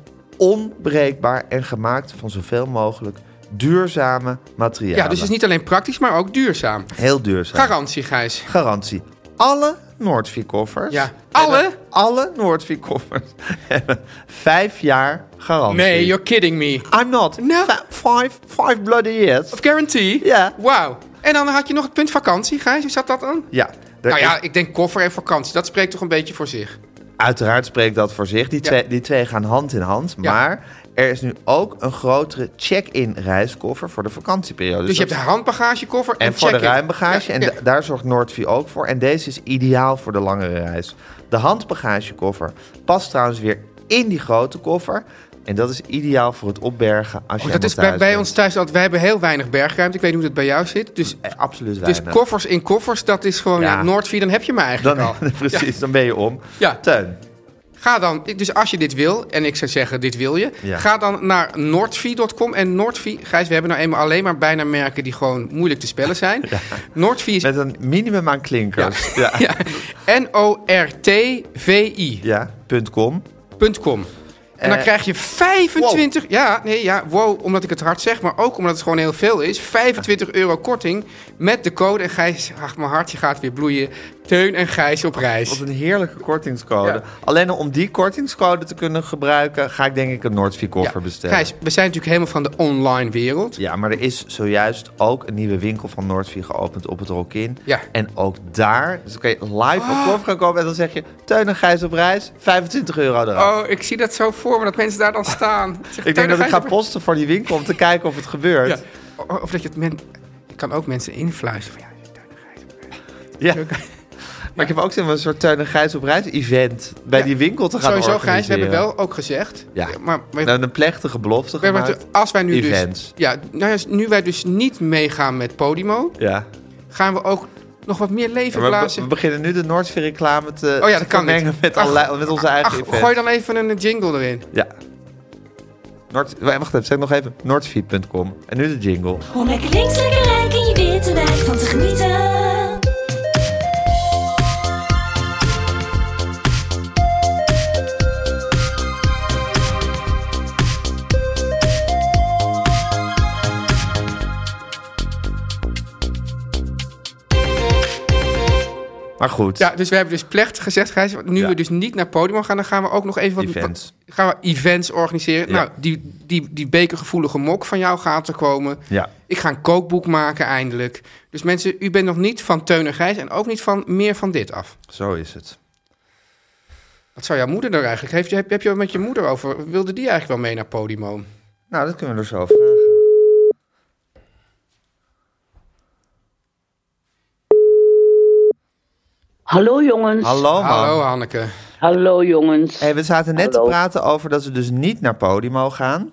onbreekbaar... en gemaakt van zoveel mogelijk duurzame materialen.
ja dus het is niet alleen praktisch, maar ook duurzaam.
Heel duurzaam.
Garantie, Gijs.
Garantie. Alle Noordvie-koffers...
Ja. Alle?
Alle Noordvie-koffers hebben vijf jaar garantie.
Nee, you're kidding me.
I'm not.
No.
Fi- Five, five bloody years.
Of guarantee?
Ja.
Wauw. En dan had je nog het punt vakantie, Gijs. Hoe zat dat dan?
Ja. er
nou ja,
is-
ik denk koffer en vakantie. Dat spreekt toch een beetje voor zich.
Dus uiteraard spreekt dat voor zich. Die,
Ja.
twee, die twee gaan hand in hand.
Ja.
Maar er is nu ook een grotere check-in reiskoffer voor de vakantieperiode.
Dus je
dat-
hebt de handbagagekoffer en,
En voor de
check-in.
ruimbagage.
Ja,
en
ja.
da- daar zorgt Noordvie ook voor. En deze is ideaal voor de langere reis. De handbagagenkoffer past trouwens weer in die grote koffer. En dat is ideaal voor het opbergen als je
Oh, dat is bij, bij ons thuis altijd. Wij hebben heel weinig bergruimte. Ik weet niet hoe dat bij jou zit. Dus,
Eh, absoluut
dus
weinig.
koffers in koffers, dat is gewoon
Ja.
ja. Noordvier. Dan heb je me eigenlijk
dan,
al.
precies, dan ben je om.
Ja.
Teun,
Ga dan, dus als je dit wil, en ik zou zeggen, dit wil je,
Ja.
ga dan naar noordvie.com. En Noordvie, Gijs, we hebben nou eenmaal alleen maar bijna merken die gewoon moeilijk te spellen zijn. Noordvie is
met een minimum aan klinkers. Ja. Ja.
Ja. N-O-R-T-V-I.com.
punt com.
En dan
Eh,
krijg je 25... Ja, nee, ja, wow, omdat ik het hard zeg, maar ook omdat het gewoon heel veel is. 25 euro korting met de code. En Gijs, ach, mijn hartje gaat weer bloeien. Teun en Gijs op
Wat
reis.
een heerlijke kortingscode.
Ja.
Alleen al om die kortingscode te kunnen gebruiken... ga ik denk ik een Noordvie
Ja.
koffer bestellen.
Gijs, we zijn natuurlijk helemaal van de online wereld.
Ja, maar er is zojuist ook een nieuwe winkel van Noordvie geopend op het Rokin.
Ja.
En ook daar, dus dan kan je live op koffer gaan kopen en dan zeg je... Teun en Gijs op reis, 25 euro eraf.
Oh, ik zie dat zo voor me dat mensen daar dan staan. Ik, zeg,
Ik
Teun,
denk dat ik
dan
ga
je-
posten voor die winkel om te kijken of het
Ja.
gebeurt.
O- Of dat je het men... Je kan ook mensen influisteren. Van, ja, Teun, dan ga je-
Ja. Maar ik heb ook zin om een soort Teun en Gijs op reis event bij
Ja.
die winkel te gaan
Sowieso,
organiseren.
Gijs, we hebben wel ook gezegd.
Ja.
Maar we,
Nou, een plechtige belofte
we hebben
gemaakt.
het- als wij nu dus.
Events.
Ja, nou ja, nu wij dus niet meegaan met Podimo,
Ja.
gaan we ook nog wat meer leven
Maar we,
blazen.
we beginnen nu de Noordveer reclame te,
Oh ja,
te
dat kan
vermengen
niet.
met,
Ach,
allerlei- met onze eigen
Ach,
event.
gooi dan even een jingle erin.
Ja. Noord, wacht even, zeg nog even. Noordfeed.com. En nu de jingle.
Om Oh, lekker links, lekker rijk in je witte wijk van te genieten.
Maar goed.
Ja, dus we hebben dus plechtig gezegd, Gijs, nu
Ja.
we dus niet naar Podimo gaan, dan gaan we ook nog even wat...
Events.
wat- gaan we events organiseren.
Ja.
Nou, die, die, die bekergevoelige mok van jou gaat er komen.
Ja.
Ik ga een kookboek maken eindelijk. Dus mensen, u bent nog niet van Teun en Gijs en ook niet van meer van dit af.
Zo is het.
Wat zou jouw moeder nou eigenlijk? Heeft, je- heb, heb je er met je moeder over? Wilde die eigenlijk wel mee naar Podimo?
Nou, dat kunnen we er zo over vragen.
Hallo jongens.
Hallo, man.
Hallo Hanneke.
Hallo, jongens.
Hey, we zaten net
Hallo.
te praten over dat we dus niet naar Podimo gaan.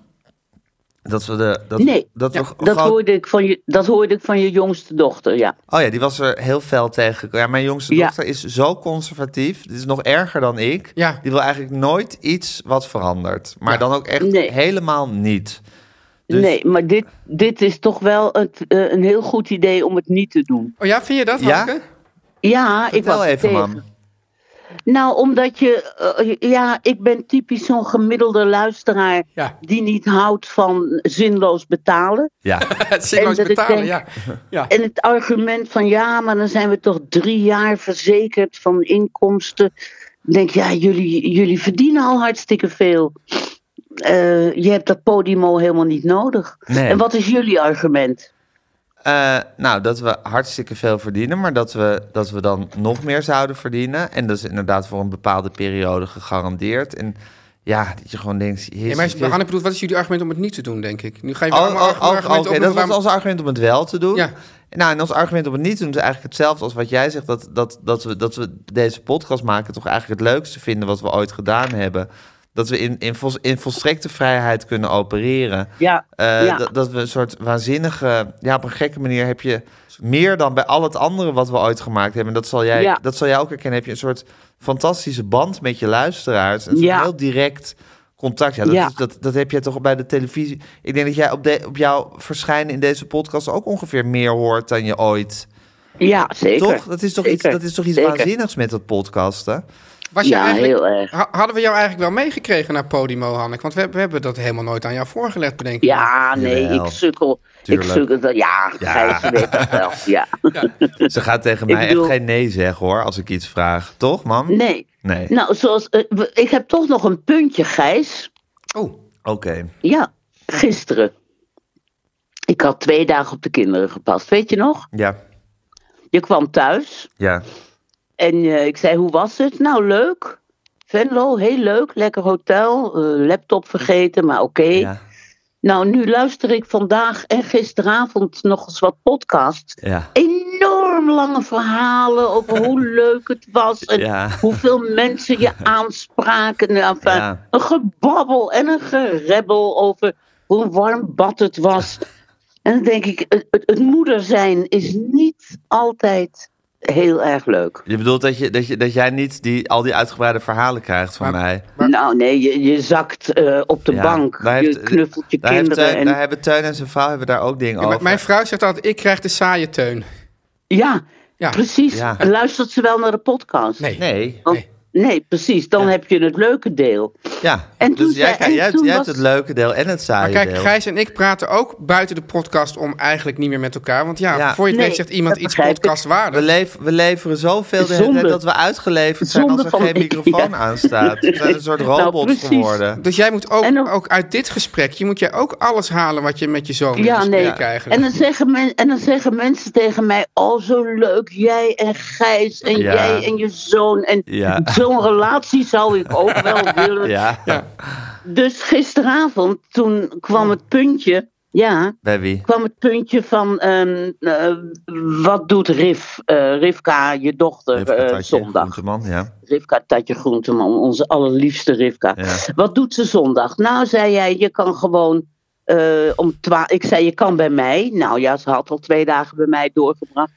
Dat we de... Dat,
Nee,
dat, we
dat,
groot-
hoorde ik van je, dat hoorde ik van je jongste dochter, ja.
Oh ja, die was er heel fel tegen. Ja, mijn jongste
Ja.
dochter is zo conservatief. Dit is nog erger dan ik.
Ja.
Die wil eigenlijk nooit iets wat verandert. Maar
Ja.
dan ook echt
Nee.
helemaal niet. Dus-
Nee, maar dit, dit is toch wel het, eh, een heel goed idee om het niet te doen.
Oh ja, vind je dat
Ja?
Hanneke?
Ja, ik
Vertel
was er
even,
tegen.
mam.
Nou, omdat je... eh, ja, ik ben typisch zo'n gemiddelde luisteraar...
Ja.
die niet houdt van zinloos betalen.
Ja.
Het zinloos
En dat ik
betalen,
denk-
ja. ja.
En het argument van ja, maar dan zijn we toch drie jaar verzekerd van inkomsten. Ik denk, ja, jullie, jullie verdienen al hartstikke veel. Eh, je hebt dat Podimo helemaal niet nodig.
Nee.
En wat is jullie argument?
Eh, nou, dat we hartstikke veel verdienen, maar dat we, dat we dan nog meer zouden verdienen. En dat is inderdaad voor een bepaalde periode gegarandeerd. En ja, dat je gewoon denkt... Jezus,
Nee, maar
Christus.
Hanneke bedoelt, wat is jullie argument om het niet te doen, denk ik? Nu ga je weer
Oh, oh,
allemaal argu-
oh, Oké,
argumenten opnoemen
dat was
waarom-
ons argument om het wel te doen.
Ja.
Nou, en ons argument om het niet te doen is eigenlijk hetzelfde als wat jij zegt. Dat, dat, dat, we, dat we deze podcast maken toch eigenlijk het leukste vinden wat we ooit gedaan hebben. Dat we in, in, vol- in volstrekte vrijheid kunnen opereren.
Ja,
Eh,
ja.
dat, dat we een soort waanzinnige... Ja, op een gekke manier heb je meer dan bij al het andere wat we ooit gemaakt hebben. En dat zal jij,
Ja.
dat zal jij ook herkennen. Heb je een soort fantastische band met je luisteraars. Een soort
Ja.
heel direct contact. Ja, dat,
Ja.
is- dat, dat heb jij toch bij de televisie. Ik denk dat jij op, de, op jouw verschijnen in deze podcast ook ongeveer meer hoort dan je ooit.
ja zeker.
Toch? Dat is toch iets,
Zeker.
dat is toch iets
Zeker.
waanzinnigs met dat podcasten.
Was je
Ja,
eigenlijk,
heel erg.
Ha- Hadden we jou eigenlijk wel meegekregen naar Podimo, Hanneke? Want we, we hebben dat helemaal nooit aan jou voorgelegd, bedenk ik.
Ja, nee,
Jawel.
ik sukkel.
Tuurlijk.
Ik sukkel. dat- Ja,
Ja.
Gijs, je weet dat wel. Ja.
Ze gaat tegen mij
bedoel-
echt geen nee zeggen hoor, als ik iets vraag. Toch, mam?
Nee.
Nee.
Nou, zoals, eh, we- ik heb toch nog een puntje, Gijs.
Oh,
Oké.
Ja, gisteren. Ik had twee dagen op de kinderen gepast. Weet je nog?
Ja.
Je kwam thuis
Ja.
en eh, ik zei: Hoe was het? Nou, leuk. Venlo, heel leuk. Lekker hotel. eh, laptop vergeten, maar oké.
Ja.
Nou, nu luister ik vandaag en gisteravond nog eens wat podcasts.
Ja.
Enorm lange verhalen over hoe leuk het was. En
Ja.
hoeveel mensen je aanspraken. Nou, Enfin,
Ja.
Een gebabbel en een gerebbel over hoe warm bad het was. En dan denk ik, het, het, het moeder zijn is niet altijd heel erg leuk.
Je bedoelt dat, je, dat, je, dat jij niet die, al die uitgebreide verhalen krijgt van
Maar-
mij.
Maar-
Nou nee, je, je zakt eh, op de
Ja,
bank,
daar
je
heeft-
knuffelt je
Daar, heeft
kinderen.
Teun-
en,
daar hebben Teun en zijn vrouw hebben daar ook dingen
ja, maar
over.
mijn vrouw zegt altijd, ik krijg de saaie teun.
ja,
Ja.
precies.
Ja.
Luistert ze wel naar de podcast?
Nee.
Nee.
Want-
nee.
nee, precies. Dan heb je het leuke deel.
Ja.
En toen
dus
zei-
jij,
en
jij, hebt,
toen
jij
was-
hebt het leuke deel en het saaie
Maar kijk,
deel.
Gijs en ik praten ook buiten de podcast om eigenlijk niet meer met elkaar. Want ja,
Ja.
voor je het
Nee,
weet zegt iemand
dat
iets
begrijp ik.
We,
podcastwaardig.
leef- we leveren zoveel de hele
Zonde.
tijd dat we uitgeleverd zijn
Zonde
als er geen
van-
microfoon
Ja.
aan staat. We zijn een soort robots
precies.
geworden.
Dus jij moet ook,
En dan-
ook uit dit gesprek, je moet jij ook alles halen wat je met je zoon
Ja,
moet
nee.
bespreken eigenlijk.
En dan, zeggen men, en dan zeggen mensen tegen mij: Oh, zo leuk, jij en Gijs en
Ja.
jij en je zoon. En
Ja.
zo'n relatie zou ik ook wel willen.
Ja.
Dus gisteravond, toen kwam het puntje. Ja,
Bij wie?
kwam het puntje van ehm, eh, wat doet Rif, eh, Rivka, je dochter,
Even
eh,
een tatje,
zondag?
groenteman, ja.
Rivka Tatje Groenteman, onze allerliefste Rivka.
Ja.
Wat doet ze zondag? Nou, zei jij, je kan gewoon eh, om twaalf... Ik zei, je kan bij mij. Nou ja, ze had al twee dagen bij mij doorgebracht.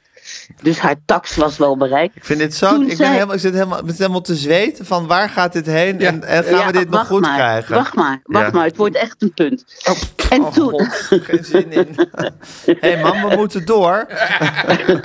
Dus haar tax was wel bereikt.
Ik vind dit zo.
Toen
Ik, ben
zei-
helemaal, ik zit helemaal, ik zit helemaal te zweten van waar gaat dit heen en, en gaan
Ja,
we dit nog
wacht
goed
maar,
krijgen?
Wacht maar, wacht
Ja.
maar. Het wordt echt een punt. en
Oh,
toen...
God, geen zin in. Hé hey man, we moeten door.
Eh,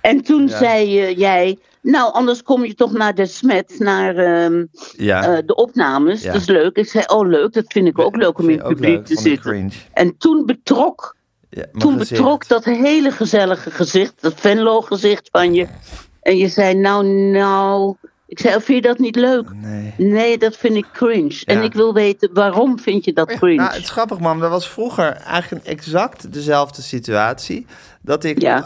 En toen zei eh, jij, nou anders kom je toch naar de smet, naar ehm,
Ja,
eh, de opnames.
Ja.
Dat is leuk. Ik zei, oh leuk, dat vind ik ook leuk om in
vind
het
ik ook
publiek
leuk,
te
vond ik
zitten.
cringe.
En toen betrok,
ja, mijn
toen
gezicht.
betrok dat hele gezellige gezicht, dat Venlo gezicht van je. En je zei, nou nou, ik zei, oh, vind je dat niet leuk?
Nee.
Nee, dat vind ik cringe. En ik wil weten, waarom vind je dat cringe?
Nou, het is grappig, man. Dat was vroeger eigenlijk exact dezelfde situatie. Dat ik
Ja.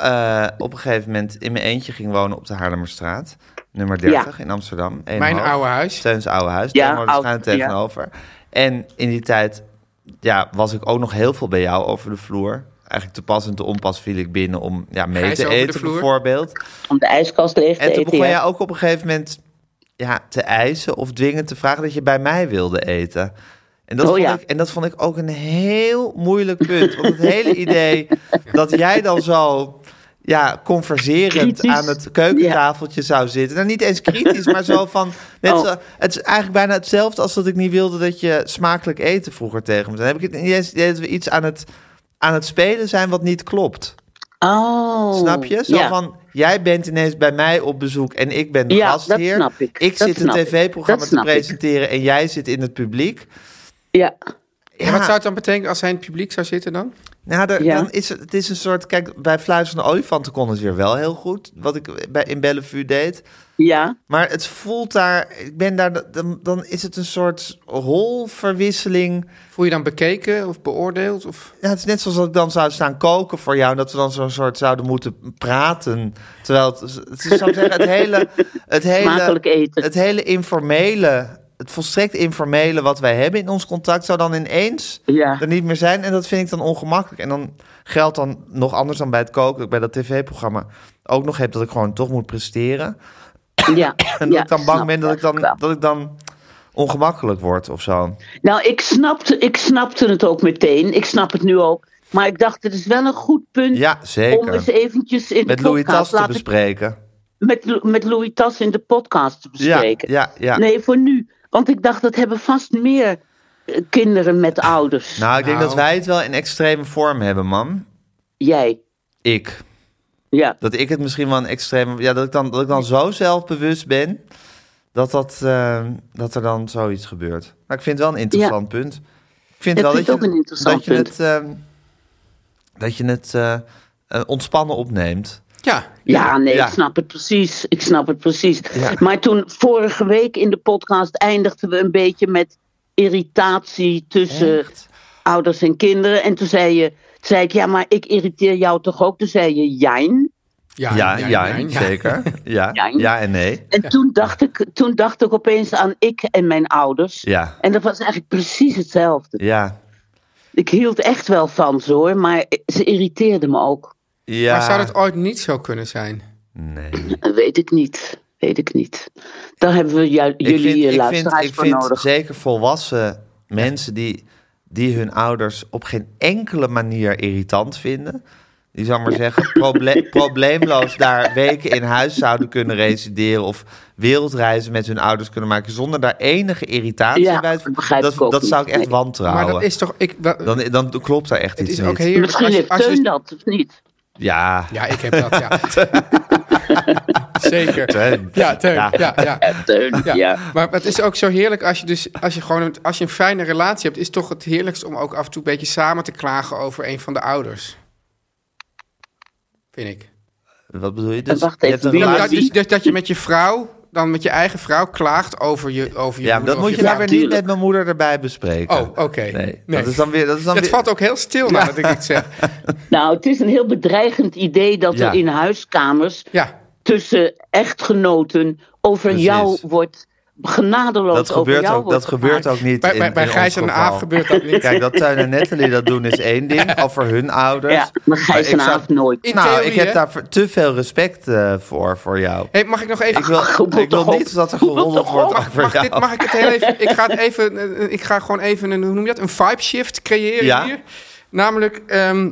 eh, op een gegeven moment in mijn eentje ging wonen op de Haarlemmerstraat. Nummer 30 in Amsterdam.
Mijn oude huis.
Steuns oude huis.
Ja,
Daar woonde
oud,
schuin
ja.
tegenover. En in die tijd ja, was ik ook nog heel veel bij jou over de vloer. Eigenlijk te pas en te onpas viel ik binnen om ja, mee
Gijs
te
over de
eten
vloer.
bijvoorbeeld.
Om de ijskast leeg te
En toen
eten.
begon
ja.
jij ook op een gegeven moment ja, te eisen of dwingen te vragen dat je bij mij wilde eten. En dat,
Oh,
vond
ja.
ik, en dat vond ik ook een heel moeilijk punt. Want het hele idee dat jij dan zo ja, converserend
Kritisch.
aan het keukentafeltje zou zitten. Nou, niet eens kritisch, maar zo van... Net
Oh.
zo, het is eigenlijk bijna hetzelfde als dat ik niet wilde dat je smakelijk eten vroeger tegen me zei. Dan heb ik het niet eens idee dat we iets aan het, aan het spelen zijn wat niet klopt.
Oh.
Snap je? Zo
ja.
van, jij bent ineens bij mij op bezoek en ik ben de
Ja,
gastheer.
dat snap ik. Dat
zit een
snap ik.
tv-programma
Dat
te
snap ik.
presenteren en jij zit in het publiek.
Ja.
En wat zou het dan betekenen als hij in het publiek zou zitten dan?
Nou, daar-
Ja.
dan is het, het is een soort... Kijk, bij Fluisterende Olifanten kon het weer wel heel goed. Wat ik bij, in Bellevue deed.
Ja,
Maar het voelt daar... Ik ben daar... Dan, dan is het een soort rolverwisseling.
Voel je dan bekeken of beoordeeld? Of...
Ja, het is net zoals dat ik dan zou staan koken voor jou... en dat we dan zo'n soort zouden moeten praten. Terwijl het, het, is, zou ik zeggen, het hele... Het hele
smakelijk eten.
het hele informele, het volstrekt informele wat wij hebben in ons contact, zou dan ineens
Ja.
er niet meer zijn. En dat vind ik dan ongemakkelijk. En dan geldt dan nog anders dan bij het koken, dat ik bij dat tv-programma ook nog heb dat ik gewoon toch moet presteren.
Ja,
En dat
ja,
ik dan bang
snap
ben dat ik dan,
eigenlijk wel.
dat ik dan ongemakkelijk word of zo.
Nou, ik snapte, ik snapte het ook meteen. Ik snap het nu ook. Maar ik dacht, het is wel een goed punt
Ja,
om eens
zeker.
eventjes in
Met
de
Louis Tas
podcast...
te
laat ik-
bespreken.
met, Lou- met Louis Tas in de podcast te
Ja,
bespreken.
ja, ja.
Nee, voor nu. Want ik dacht, dat hebben vast meer eh, kinderen met ouders.
Nou, ik denk
Nou.
dat wij het wel in extreme vorm hebben, man.
Jij.
Ik.
Ja.
Dat ik het misschien wel een extreem. Ja, dat ik dan, dat ik dan zo zelfbewust ben. Dat, dat, eh, dat er dan zoiets gebeurt. Maar ik vind het wel een interessant punt. Ik vind
Ik
wel
vind
dat
het ook
je,
een interessant
dat je
punt.
het. eh, dat je het eh, eh, ontspannen opneemt.
Ja,
Ja, nee,
Ja.
ik snap het precies. Ik snap het precies.
Ja.
Maar toen vorige week in de podcast eindigden we een beetje met irritatie tussen ouders en kinderen. En toen zei je, zei ik, ja, maar ik irriteer jou toch ook? Toen zei je, jijn.
ja,
Ja, ja, zeker. Ja, ja.
Ja.
en nee.
En toen dacht, ik, toen dacht ik opeens aan ik en mijn ouders.
Ja,
En dat was eigenlijk precies hetzelfde.
ja.
Ik hield echt wel van ze hoor, maar ze irriteerden me ook.
ja.
Maar zou dat ooit niet zo kunnen zijn?
Nee.
Dat weet ik niet. Weet ik niet. Daar hebben we ju-
Ik
jullie
vind,
eh,
ik
luisteraars
vind, ik
voor
vind
nodig.
zeker volwassen mensen die, die hun ouders op geen enkele manier irritant vinden. Die zou maar zeggen, proble- probleemloos daar weken in huis zouden kunnen resideren. Of wereldreizen met hun ouders kunnen maken zonder daar enige irritatie
Ja,
bij. te-
dat begrijp
dat
ik ook
dat zou ik
niet,
echt
nee.
wantrouwen.
Maar dat is toch... Ik, wa-
dan, dan klopt daar echt
het
iets
is
niet.
ook heerlijk.
Misschien
als je-
heeft
als je-
Teun dat, of niet?
Ja,
Ja, ik heb dat, ja. Zeker.
Teun.
Ja, Teun.
Ja.
Ja, ja.
Ja, Teun, ja.
Ja. Maar het is ook zo heerlijk als je, dus, als je gewoon een, als je een fijne relatie hebt, is toch het heerlijkst om ook af en toe een beetje samen te klagen over een van de ouders. Vind ik.
Wat bedoel je? Dus,
Wacht
je
even,
hebt een
wie-
Dat-
relatie-
dat- dus, dus dat je met je vrouw, dan met je eigen vrouw, klaagt over je over je
Ja, maar
moeder
dat
of
moet je nou weer
vader.
niet met
Tuurlijk.
mijn moeder erbij bespreken.
Oh, oké.
Nee,
Nee.
dat is dan weer... Dat, is dan
Het
weer...
valt ook heel stil nadat ik dit zeg.
Nou, het is een heel bedreigend idee dat
Ja.
er in huiskamers
Ja,
tussen echtgenoten over
Precies.
jou wordt, genadeloos
Dat
over
gebeurt,
jou
ook,
wordt
dat gebeurt
gemaakt.
ook niet
Bij,
in,
bij, bij
in
Gijs
ons
en
geval.
Aaf gebeurt dat niet.
Kijk, dat Tuin en Natalie dat doen is één ding. Al voor hun ouders.
Ja, maar
Maar ik
Gijs en
zou-
Aaf nooit.
In
nou,
theorie,
ik heb
hè?
daar voor- te veel respect eh, voor, voor jou.
Hey, mag ik nog even...
Ik wil,
roep
ik wil
toch op.
niet dat er
Roep
geroddeld
toch
wordt
Mag,
over
Oh, mag,
jou.
dit, mag ik het heel even... Ik ga, het even, eh, ik ga gewoon even een, hoe noem je dat, een vibe shift creëren
Ja.
hier. Namelijk, ehm,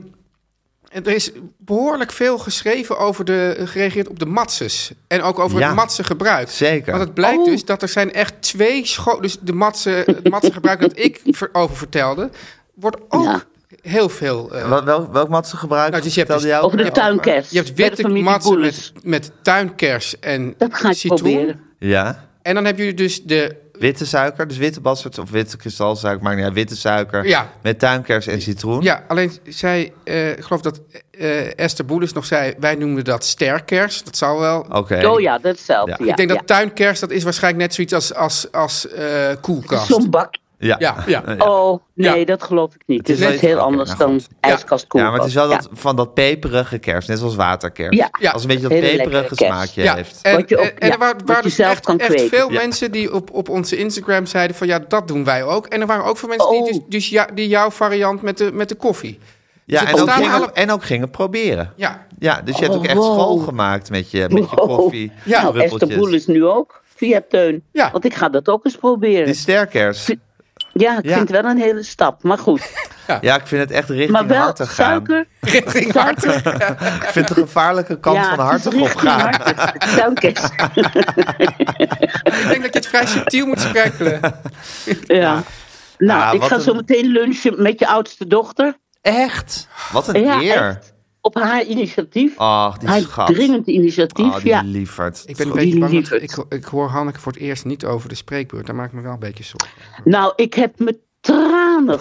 er is behoorlijk veel geschreven over de, gereageerd op de matses. En ook over
Ja.
het matsengebruik.
Zeker.
Want het blijkt
Oh.
dus dat er zijn echt twee scholen... Dus de matsen, het matsengebruik dat ik ver- over vertelde, wordt ook
Ja.
heel veel... eh,
Wel, wel, welk mat ze gebruiken?
Nou, dus je hebt
Vertelde
dus-
jou
Over de
ook?
tuinkers.
Je hebt
bij de
witte
familie
matsen met,
Boelens.
met tuinkers en
Dat ga ik
citroen.
proberen.
Ja.
En dan heb je dus de...
Witte suiker, dus witte bastard of witte kristalsuiker, maakt niet uit, witte suiker
Ja.
met tuinkers en citroen.
Ja, alleen zij, eh, ik geloof dat eh, Esther Boelens nog zei, wij noemen dat sterkers. Dat zal wel.
Oké.
Oh ja, dat is hetzelfde.
Ja.
Ja.
ik denk dat tuinkers, dat is waarschijnlijk net zoiets als, als, als eh, koelkast.
Zo'n bak.
Ja.
Ja, ja.
Oh, nee,
Ja.
dat geloof ik niet. Het is
is wel
net
iets-
heel
oké,
anders
nou
dan
goed.
Ja.
ijskast
Ja, maar het is wel
koelkast.
dat, van dat peperige kers, net zoals waterkers.
Ja.
Ja.
Als een beetje dat
Hele
peperige
lekkere kers.
smaakje
Ja,
heeft.
en,
Wat je ook-
en- en
ja,
er waren,
wat
waren
je
dus
zelf
echt,
kan
echt
kweken.
veel
Ja.
mensen die op, op onze Instagram zeiden van ja, dat doen wij ook. En er waren ook veel mensen die,
Oh.
dus, dus ja, die jouw variant met de, met de koffie.
Ja,
Dus
en
het
ook,
bestaan
gingen,
alle-
en ook gingen proberen.
Ja,
Ja, dus je hebt ook echt
Oh, wow.
school gemaakt met je, met je
Wow.
koffie.
Ja.
Nou, Esther
druppeltjes.
Boel is nu ook via Teun.
Ja.
Want ik ga dat ook eens proberen.
Die sterkers.
ja, ik
Ja.
vind het wel een hele stap. Maar goed.
Ja, ik vind het echt
Maar
richting
wel
harten gaan.
suiker.
richting hartig.
Ik vind de gevaarlijke kant
ja,
van
het is
hartig op
richting
gaan.
hartig. Suikers.
Ik denk dat je het vrij subtiel moet sprekkelen.
ja. Nou,
Ah,
ik
wat
ga
een-
zo meteen lunchen met je oudste dochter.
Echt? Wat een
Ja,
eer.
echt. Op haar initiatief.
Ach, Ah, die
haar
schat.
dringend initiatief.
Oh, die
ja.
lieverd.
Ik ben een
Goed.
beetje bang, want
Lieverd.
ik, ik hoor Hanneke voor het eerst niet over de spreekbeurt. Daar maak ik me wel een beetje zorgen.
Nou, ik heb me tranen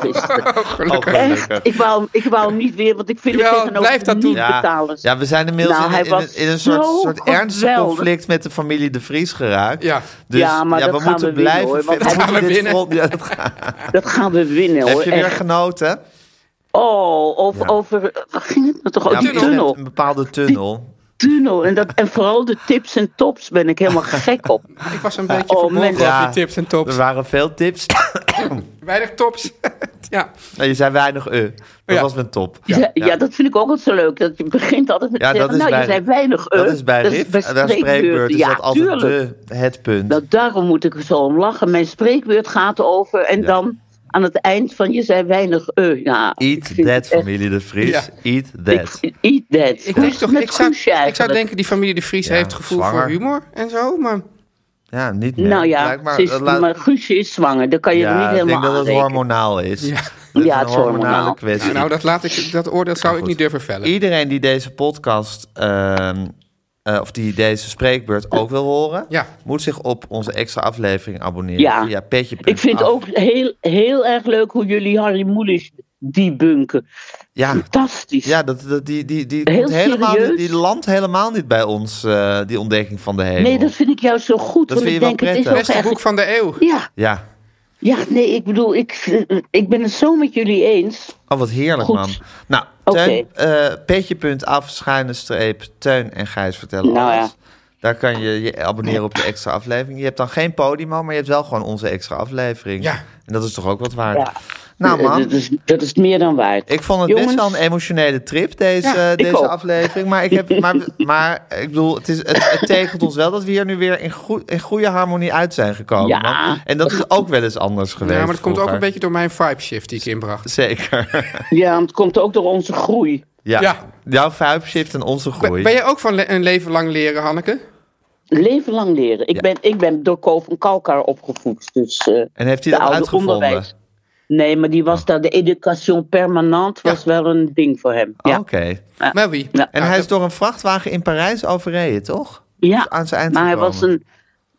gisteren.
Oh, gelukkig.
Echt, ik wou, hem- ik wou hem niet weer, want ik vind
Jawel,
het tegenover
blijf
niet
dat doen.
Ja,
betalers.
ja, we zijn inmiddels
Nou,
in,
hij
in, een-
was
in een soort,
zo
soort ernstig
geweldig.
conflict met de familie De Vries geraakt.
Ja.
Dus ja,
Ja, maar dat
we
gaan
moeten
we winnen,
blijven
hoor, want
verder.
hij-
We
Gaan we
moeten dit
winnen?
vol- ja, dat gaan-
Dat gaan we winnen
Heb
hoor.
je weer
echt.
genoten?
Oh, over,
Ja.
over, waar ging het nou toch?
Ja,
over? die
met
tunnel.
Een bepaalde tunnel.
tunnel. En, dat, en vooral de tips en tops ben ik helemaal gek op.
Ik was een beetje
Oh,
verbolgen
mensen.
over
Ja.
die tips en
Er
tops.
waren veel tips.
Weinig tops. ja.
Nou, je zei weinig eh. Dat
Ja.
was mijn top.
Ja, dat vind ik ook altijd zo leuk. Dat je begint altijd met
Ja,
te
dat
zeggen,
is
nou,
bij-
je zei weinig. eh,
Dat is bij Rif.
bij
en daar spreekbeurt
spreekbeurten.
is
ja,
dat altijd
tuurlijk.
de, het punt.
Nou, daarom moet ik er zo om lachen. Mijn spreekbeurt gaat over. En
Ja.
dan aan het eind van je zei weinig. eh. ja, ik
Eat
vind
that,
het echt-
familie de Vries.
Ja.
Eat that.
Ik, eat that.
Ik denk toch,
Met
ik zou,
Guusje
ik zou
eigenlijk.
denken, die familie De Vries
Ja,
heeft gevoel
zwanger.
voor humor en zo. Maar
Ja, niet meer.
nou ja,
Blijkbaar,
ze is-
dat eh, laat-
maar Guusje is zwanger. Dan kan je er
ja,
niet
ik denk
helemaal
dat
aan
het
denken.
hormonaal is.
Ja.
Dat
Ja,
is
het
een
is
hormonale
hormonaal.
kwestie.
nou, dat, laat ik, dat oordeel zou ik
goed.
niet durven vellen.
Iedereen die deze podcast ehm, eh, of die deze spreekbeurt ook wil horen,
Ja.
moet zich op onze extra aflevering abonneren
Ja.
via petje.
Ik vind ook heel, heel erg leuk hoe jullie Harry Moelis debunken.
Ja,
Fantastisch.
ja dat, dat, die, die, die,
Heel
komt helemaal niet-
serieus.
die landt helemaal niet bij ons, eh, die ontdekking van de hemel.
nee, dat vind ik jou zo goed.
Dat vind
want ik
je wel
denk, het is
prettig.
ook
Beste
echt...
boek van de eeuw.
Ja,
Ja,
ja, nee, ik bedoel, ik, vind- ik ben het zo met jullie eens.
oh, wat heerlijk,
Goed.
man. Nou,
Oké.
Teun, eh petje.af, schuine streep, Teun en Gijs vertellen
Nou
alles.
ja.
Daar kan je je abonneren op de extra aflevering. Je hebt dan geen Podimo, maar je hebt wel gewoon onze extra aflevering.
Ja.
En dat is toch ook wat waard.
Ja.
Nou man,
Eh, Dat is, dat is meer dan waard.
Ik vond het
Jongens,
best wel een emotionele trip, deze,
Ja,
eh,
ik
deze
ook.
aflevering. Maar ik, heb, maar, maar ik bedoel, het, is, het, het tekent ons wel dat we hier nu weer in, goed, in goede harmonie uit zijn gekomen.
Ja.
man. En dat is ook wel eens anders
Ja,
geweest.
maar dat komt ook
vroeger.
een beetje door mijn vibe shift die ik inbracht.
Zeker.
Ja, want het komt ook door onze groei.
Ja.
Ja.
Jouw vibe shift en onze
Ben,
groei.
ben jij ook van le- een leven lang leren, Hanneke?
Leven lang leren. Ik, ben, ik ben door Ko van Kalkar opgevoed. Dus, eh,
En heeft hij
de
dat
oude
uitgevonden? Oh.
onderwijs. Nee, maar die was daar, de education permanent was wel een ding voor hem.
Oh,
Ja,
Oké.
Maar wie?
Ja.
En
Nou,
hij is door een vrachtwagen in Parijs overreden, toch?
ja.
dus Aan zijn eind
maar hij was een,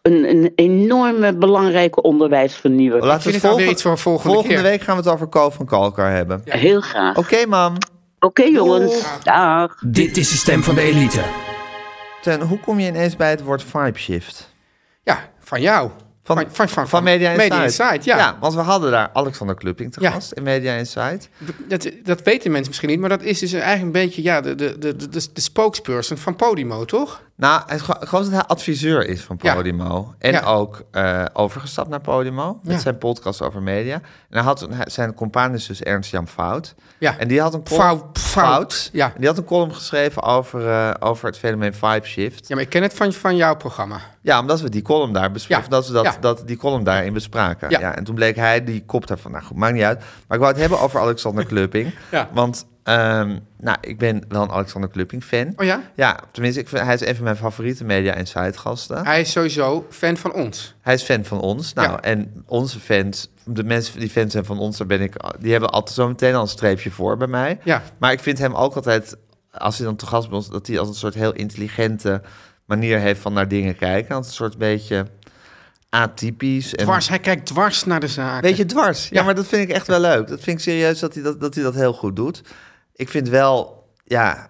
een, een enorme belangrijke onderwijsvernieuwer.
Laten
vind
we
het wel
volgende,
weer iets voor volgende keer.
week gaan we het over Ko van Kalkar hebben.
Heel graag.
Oké, mam.
Oké jongens, dag.
Dit is de stem van de elite.
Ten, hoe kom je ineens bij het woord vibe shift?
Ja, van jou.
Van,
Van- van- van-
van Media
Media
Insight.
Insight, ja.
want we hadden daar Alexander Klupping te
Ja.
gast in Media Insight.
Dat, dat weten mensen misschien niet, maar dat is dus eigenlijk een beetje ja, de, de, de, de, de spokesperson van Podimo, toch?
Nou, het, gro- gewoon dat hij adviseur is van
Ja.
Podimo. En
Ja.
ook eh, overgestapt naar Podimo. Met
Ja.
zijn podcast over media. En hij had, een- hij- zijn compaan is dus Ernst Jan Fout.
Ja.
En die had een column...
Fout, Fout, ja.
En die had een column geschreven over, eh, over het fenomeen vibe shift.
Ja, maar ik ken het van, van jouw programma.
Ja, omdat we die column daar bespraken.
Ja,
Dat we dat,
ja.
dat, die column daarin bespraken. Ja.
Ja.
en toen bleek hij die kop daarvan. Nou goed, maakt niet uit. Maar ik wou het hebben over Alexander Klupping.
Ja.
Want ehm, nou, ik ben wel een Alexander Klupping fan.
Oh ja?
Ja, tenminste, ik vind, hij is een van mijn favoriete media- en sitegasten.
Hij is sowieso fan van ons.
Hij is fan van ons. Nou,
Ja.
en onze fans, de mensen die fans zijn van ons, daar ben ik, die hebben altijd zo meteen al een streepje voor bij mij.
Ja.
Maar ik vind hem ook altijd, als hij dan te gast bij ons, dat hij als een soort heel intelligente manier heeft van naar dingen kijken. Als een soort beetje atypisch. En
Dwars, hij kijkt dwars naar de zaak.
Beetje dwars. Ja,
Ja.
maar dat vind ik echt wel leuk. Dat vind ik serieus dat hij dat, dat, hij dat heel goed doet. Ik vind wel, ja,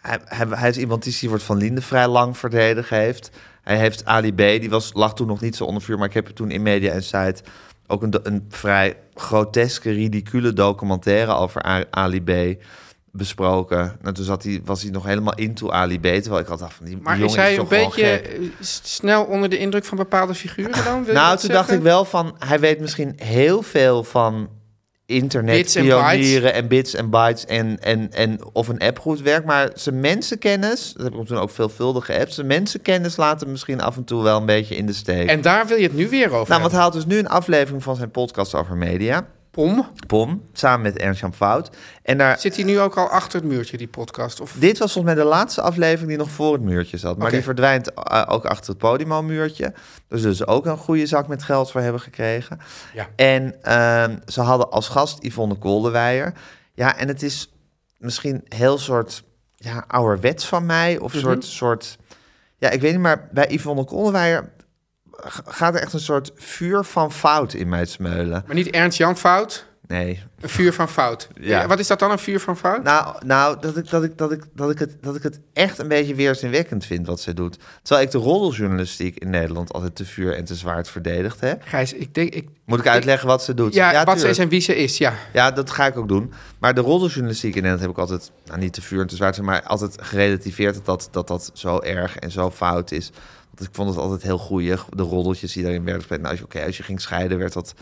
hij, hij, hij is iemand die Siewert van Linden vrij lang verdedigd heeft. Hij heeft Ali B, die was, lag toen nog niet zo onder vuur, maar ik heb er toen in Media en Site ook een, do- een vrij groteske, ridicule documentaire over A- Ali B besproken. Nou, toen zat hij, was hij nog helemaal into Ali B, terwijl ik al dacht van die die
maar
jongen
is hij
toch
een
gewoon
beetje
gek.
eh, s- snel onder de indruk van bepaalde figuren dan? Wil je
Nou,
dat
toen dacht
zeggen?
ik wel van, hij weet misschien heel veel van
Bits en
internetpionieren en bits en bytes en, en, en of een app goed werkt. Maar zijn mensenkennis, dat heb ik toen ook veelvuldige apps, zijn mensenkennis laat hem misschien af en toe wel een beetje in de steek.
En daar wil je het nu weer
nou,
over
want hij
hebben.
had dus nu een aflevering van zijn podcast over media,
Pom,
POM, samen met Ernst-Jan Fout. En daar,
zit hij nu ook al achter het muurtje, die podcast? Of...
dit was volgens mij de laatste aflevering die nog voor het muurtje zat. Maar
Oké.
die verdwijnt eh, ook achter het podiummuurtje. Dus dus ook een goede zak met geld voor hebben gekregen.
Ja.
En ehm, ze hadden als gast Yvonne Koldewijer. Ja, en het is misschien heel soort ja, ouderwets van mij.
Mhm.
Of soort, soort... Ja, ik weet niet, maar bij Yvonne Koldewijer g- gaat er echt een soort vuur van fout in mij smeulen.
Maar niet Ernst Jan Fout,
Nee,
een vuur van fout.
Ja.
Ja. Wat is dat dan, een vuur van fout?
Nou, nou dat, ik, dat, ik, dat, ik, dat, ik het, dat ik het echt een beetje weerzinwekkend vind wat ze doet. Terwijl ik de roddeljournalistiek in Nederland altijd te vuur en te zwaard verdedigd heb.
Gijs, ik denk... Ik,
Moet ik uitleggen wat ze doet?
ja, wat ze
tuurlijk.
is en wie ze is, ja.
Ja, dat ga ik ook doen. Maar de roddeljournalistiek in Nederland heb ik altijd, nou niet te vuur en te zwaard, maar altijd gerelativeerd dat dat, dat dat zo erg en zo fout is. Want ik vond het altijd heel goeie, de roddeltjes die daarin werden gespeeld. Nou, als je, oké, als je ging scheiden werd dat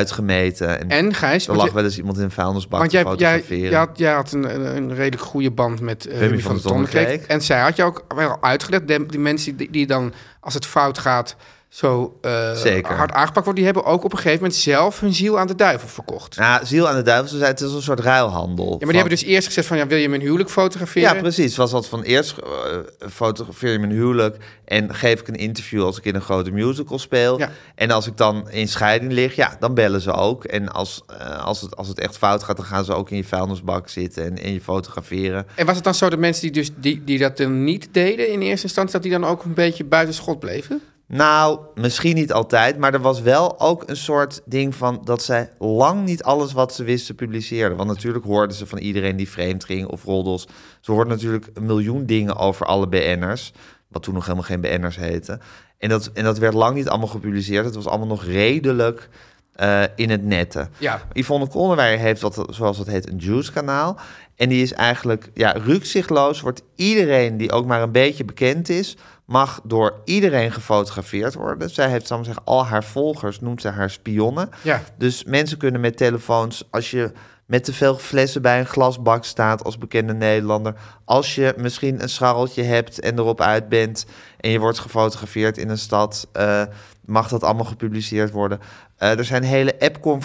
uitgemeten. En,
En Gijs,
er
want
lag
je-
wel eens iemand in een vuilnisbak
Want
te
jij, jij,
fotograferen.
jij had, jij had een, een een redelijk goede band met eh Remy
van
van,
der
der
Zonnekerk.
Tonnekerk. En zij had je ook wel uitgelegd, de- die mensen die, die dan, als het fout gaat, zo eh,
Zeker.
hard aangepakt worden, die hebben ook op een gegeven moment zelf hun ziel aan de duivel verkocht. Ja,
Nou, ziel aan de duivel, ze zei, het is een soort ruilhandel. Ja,
maar die hebben dus eerst gezegd van, ja, wil je mijn huwelijk fotograferen?
Ja, precies. Was dat van eerst eh, fotografeer je mijn huwelijk en geef ik een interview als ik in een grote musical speel.
Ja.
En als ik dan in scheiding lig, ja, dan bellen ze ook. En als, eh, als, het, als het echt fout gaat, dan gaan ze ook in je vuilnisbak zitten en, en je fotograferen.
En was het dan zo dat mensen die, dus, die, die dat dan niet deden in eerste instantie, dat die dan ook een beetje buiten schot bleven?
Nou, misschien niet altijd, maar er was wel ook een soort ding van dat zij lang niet alles wat ze wisten publiceerden. Want natuurlijk hoorden ze van iedereen die vreemd ging of roddels. Ze hoorden natuurlijk een miljoen dingen over alle BN'ers, wat toen nog helemaal geen BN'ers heette. En dat, en dat werd lang niet allemaal gepubliceerd. Het was allemaal nog redelijk eh, in het netten.
Ja.
Yvonne Kolderweijer heeft wat, zoals dat heet, een juice-kanaal. En die is eigenlijk ja, rukzichtloos. Wordt iedereen die ook maar een beetje bekend is, mag door iedereen gefotografeerd worden. Zij heeft, zal ik maar zeggen, al haar volgers noemt zij haar spionnen.
Ja.
Dus mensen kunnen met telefoons, als je met te veel flessen bij een glasbak staat als bekende Nederlander, als je misschien een scharreltje hebt en erop uit bent en je wordt gefotografeerd in een stad, eh, mag dat allemaal gepubliceerd worden. Eh, er zijn hele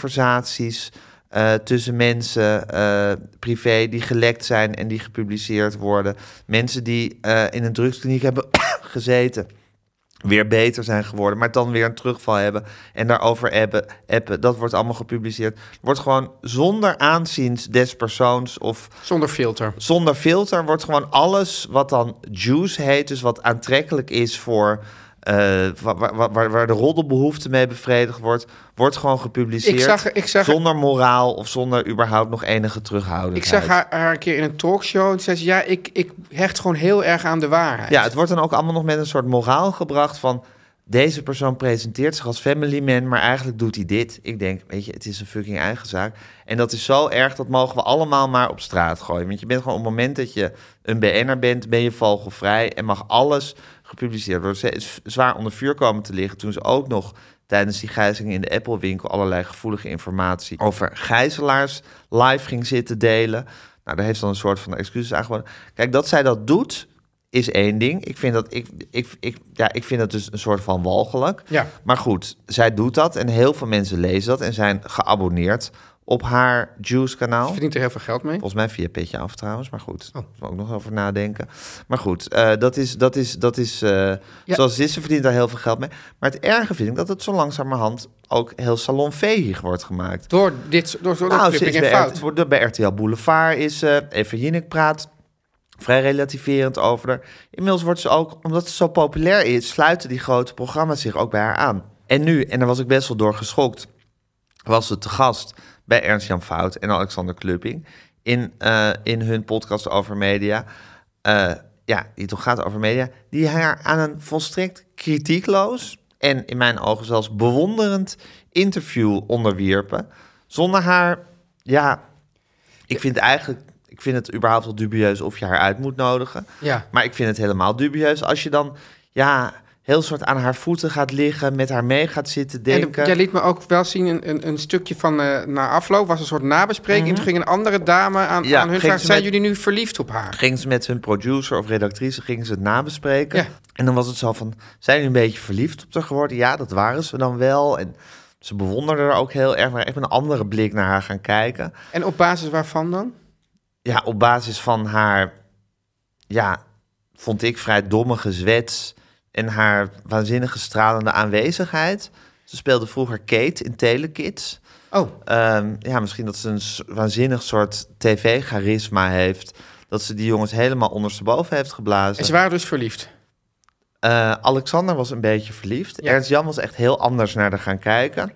app-conversaties eh, tussen mensen eh, privé die gelekt zijn en die gepubliceerd worden. Mensen die eh, in een drugskliniek hebben gezeten weer beter zijn geworden, maar dan weer een terugval hebben en daarover appen, appen. Dat wordt allemaal gepubliceerd. Wordt gewoon zonder aanziens des persoons of
Zonder filter.
zonder filter wordt gewoon alles wat dan juice heet, dus wat aantrekkelijk is voor eh, wa- wa- wa- waar, waar de roddelbehoefte mee bevredigd wordt, wordt gewoon gepubliceerd
Ik zag- ik zag-
zonder moraal of zonder überhaupt nog enige terughoudendheid.
Ik zag haar, haar een keer in een talkshow en zei ze, ja, ik, ik hecht gewoon heel erg aan de waarheid.
Ja, het wordt dan ook allemaal nog met een soort moraal gebracht van Deze persoon presenteert zich als family man, maar eigenlijk doet hij dit. Ik denk, weet je, het is een fucking eigen zaak. En dat is zo erg, dat mogen we allemaal maar op straat gooien. Want je bent gewoon op het moment dat je een BN'er bent, ben je vogelvrij en mag alles gepubliceerd worden. Ze is zwaar onder vuur komen te liggen toen ze ook nog tijdens die gijzeling in de Apple-winkel allerlei gevoelige informatie over gijzelaars live ging zitten delen. Nou, daar heeft ze dan een soort van excuses aangeboden. Kijk, dat zij dat doet, is één ding. Ik vind dat, ik, ik, ik, ja, ik vind dat dus een soort van walgelijk.
Ja.
Maar goed, zij doet dat en heel veel mensen lezen dat en zijn geabonneerd op haar Juice-kanaal.
Ze verdient er heel veel geld mee.
Volgens mij via Petje Af trouwens, maar goed. Daar moeten we ook nog over nadenken. Maar goed, eh, dat is, dat is, dat is eh, zoals dit, ze verdient daar heel veel geld mee. Maar het erge vind ik dat het zo langzamerhand ook heel salonveeg wordt gemaakt.
Door dit, door zo'n
Nou, ze
clipping
is
en
bij,
fout.
R- de- bij RTL Boulevard is eh even Jinek praat vrij relativerend over haar. Inmiddels wordt ze ook, omdat ze zo populair is, sluiten die grote programma's zich ook bij haar aan. En nu, en daar was ik best wel door geschokt, was ze te gast bij Ernst Jan Fout en Alexander Klupping in, eh, in hun podcast over media. eh, ja, die toch gaat over media, die haar aan een volstrekt kritiekloos en in mijn ogen zelfs bewonderend interview onderwierpen. Zonder haar, ja, ik vind eigenlijk, ik vind het überhaupt wel dubieus of je haar uit moet nodigen.
Ja.
Maar ik vind het helemaal dubieus als je dan, ja, heel soort aan haar voeten gaat liggen, met haar mee gaat zitten
En de-
denken.
jij liet me ook wel zien een, een, een stukje van eh, na afloop. was een soort nabespreking. Toen ging een andere dame aan,
Mhm. Ja,
aan hun
ging
vragen...
ze
zijn
met-
jullie nu verliefd op haar?
Gingen ze met hun producer of redactrice gingen ze het nabespreken.
Ja.
En dan was het zo van, zijn jullie een beetje verliefd op haar geworden? Ja, dat waren ze dan wel. En ze bewonderden haar ook heel erg, maar even een andere blik naar haar gaan kijken.
En op basis waarvan dan?
ja, op basis van haar, ja, vond ik vrij domme gezwets en haar waanzinnige stralende aanwezigheid. Ze speelde vroeger Kate in Telekids.
Oh,
Ehm, ja, misschien dat ze een s- waanzinnig soort tv-charisma heeft. Dat ze die jongens helemaal ondersteboven heeft geblazen.
en ze waren dus verliefd.
Eh, Alexander was een beetje verliefd.
Ja.
Ernst Jan was echt heel anders naar haar gaan kijken.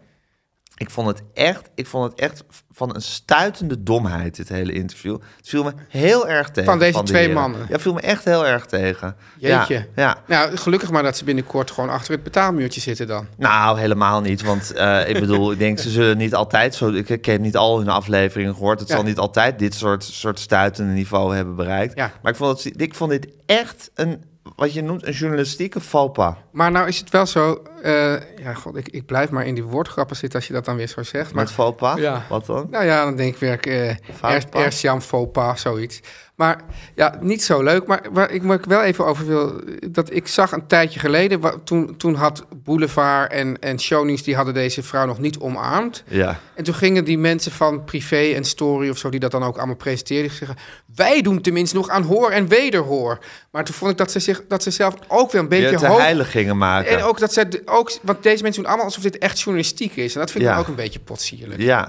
Ik vond het echt, ik vond het echt van een stuitende domheid, dit hele interview. Het viel me heel erg tegen.
Van deze
die
twee
heren.
mannen.
Ja, het viel me echt heel erg tegen.
Jeetje.
Ja, ja.
Nou, gelukkig maar dat ze binnenkort gewoon achter het betaalmuurtje zitten dan.
Nou, helemaal niet. Want eh, ik bedoel, ik denk, ze zullen niet altijd zo... Ik, ik heb niet al hun afleveringen gehoord. Het
Ja.
zal niet altijd dit soort, soort stuitende niveau hebben bereikt.
Ja.
Maar ik vond, dat, ik vond dit echt een, wat je noemt, een journalistieke faux pas.
Maar nou is het wel zo... eh, ja, god, ik, ik blijf maar in die woordgrappen zitten als je dat dan weer zo zegt. Maar
Met faux pas?
Ja.
Wat dan?
Nou ja, dan denk ik weer eh
Fout
Ernst-
pas.
Ernst Jan Fopa, zoiets. Maar ja, niet zo leuk. Maar waar ik, waar ik wel even over wil, eh, dat ik zag een tijdje geleden, wa- toen, toen had Boulevard en, en Shownieuws, die hadden deze vrouw nog niet omarmd.
Ja.
En toen gingen die mensen van Privé en Story of zo, die dat dan ook allemaal presenteerden, die zeggen, wij doen tenminste nog aan hoor en wederhoor. Maar toen vond ik dat ze, zich, dat ze zelf ook weer een beetje
Weer te
hoog-
heiligingen maken.
En ook dat ze, ook, want deze mensen doen allemaal alsof dit echt journalistiek is. En dat vind ik
Ja.
dan ook een beetje potsierlijk.
Ja.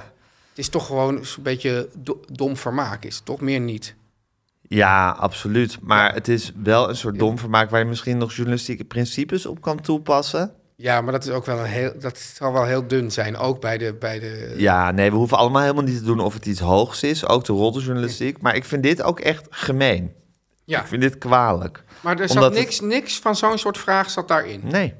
Het is toch gewoon een beetje do- dom vermaak, is het toch meer niet.
ja, absoluut. Maar het is wel een soort dom vermaak waar je misschien nog journalistieke principes op kan toepassen.
Ja, maar dat is ook wel een heel, dat zal wel heel dun zijn, ook bij de, bij de.
Ja, nee, we hoeven allemaal helemaal niet te doen of het iets hoogs is. Ook de roddeljournalistiek. Maar ik vind dit ook echt gemeen.
Ja,
Ik vind dit kwalijk.
maar er zat
Omdat het-
niks, niks van zo'n soort vraag zat daarin.
Nee.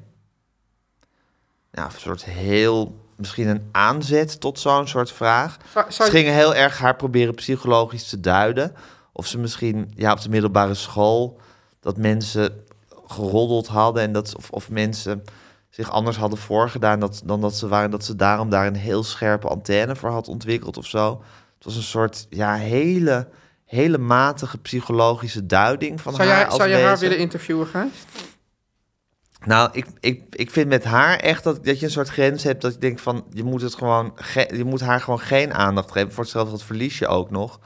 Ja, een soort heel... Misschien een aanzet tot zo'n soort vraag.
Zou-
Ze
zou-
gingen heel erg haar proberen psychologisch te duiden. Of ze misschien ja, op de middelbare school... dat mensen geroddeld hadden... En dat, of, of mensen zich anders hadden voorgedaan dat, dan dat ze waren... dat ze daarom daar een heel scherpe antenne voor had ontwikkeld of zo. Het was een soort ja, hele, hele matige psychologische duiding van
Zou
haar
jij,
als
zou je haar
wezen.
willen interviewen, Gijs?
Nou, ik, ik, ik vind met haar echt dat, dat je een soort grens hebt. Dat je denkt van, je moet, het gewoon ge- je moet haar gewoon geen aandacht geven. Voor hetzelfde geld verlies je ook nog.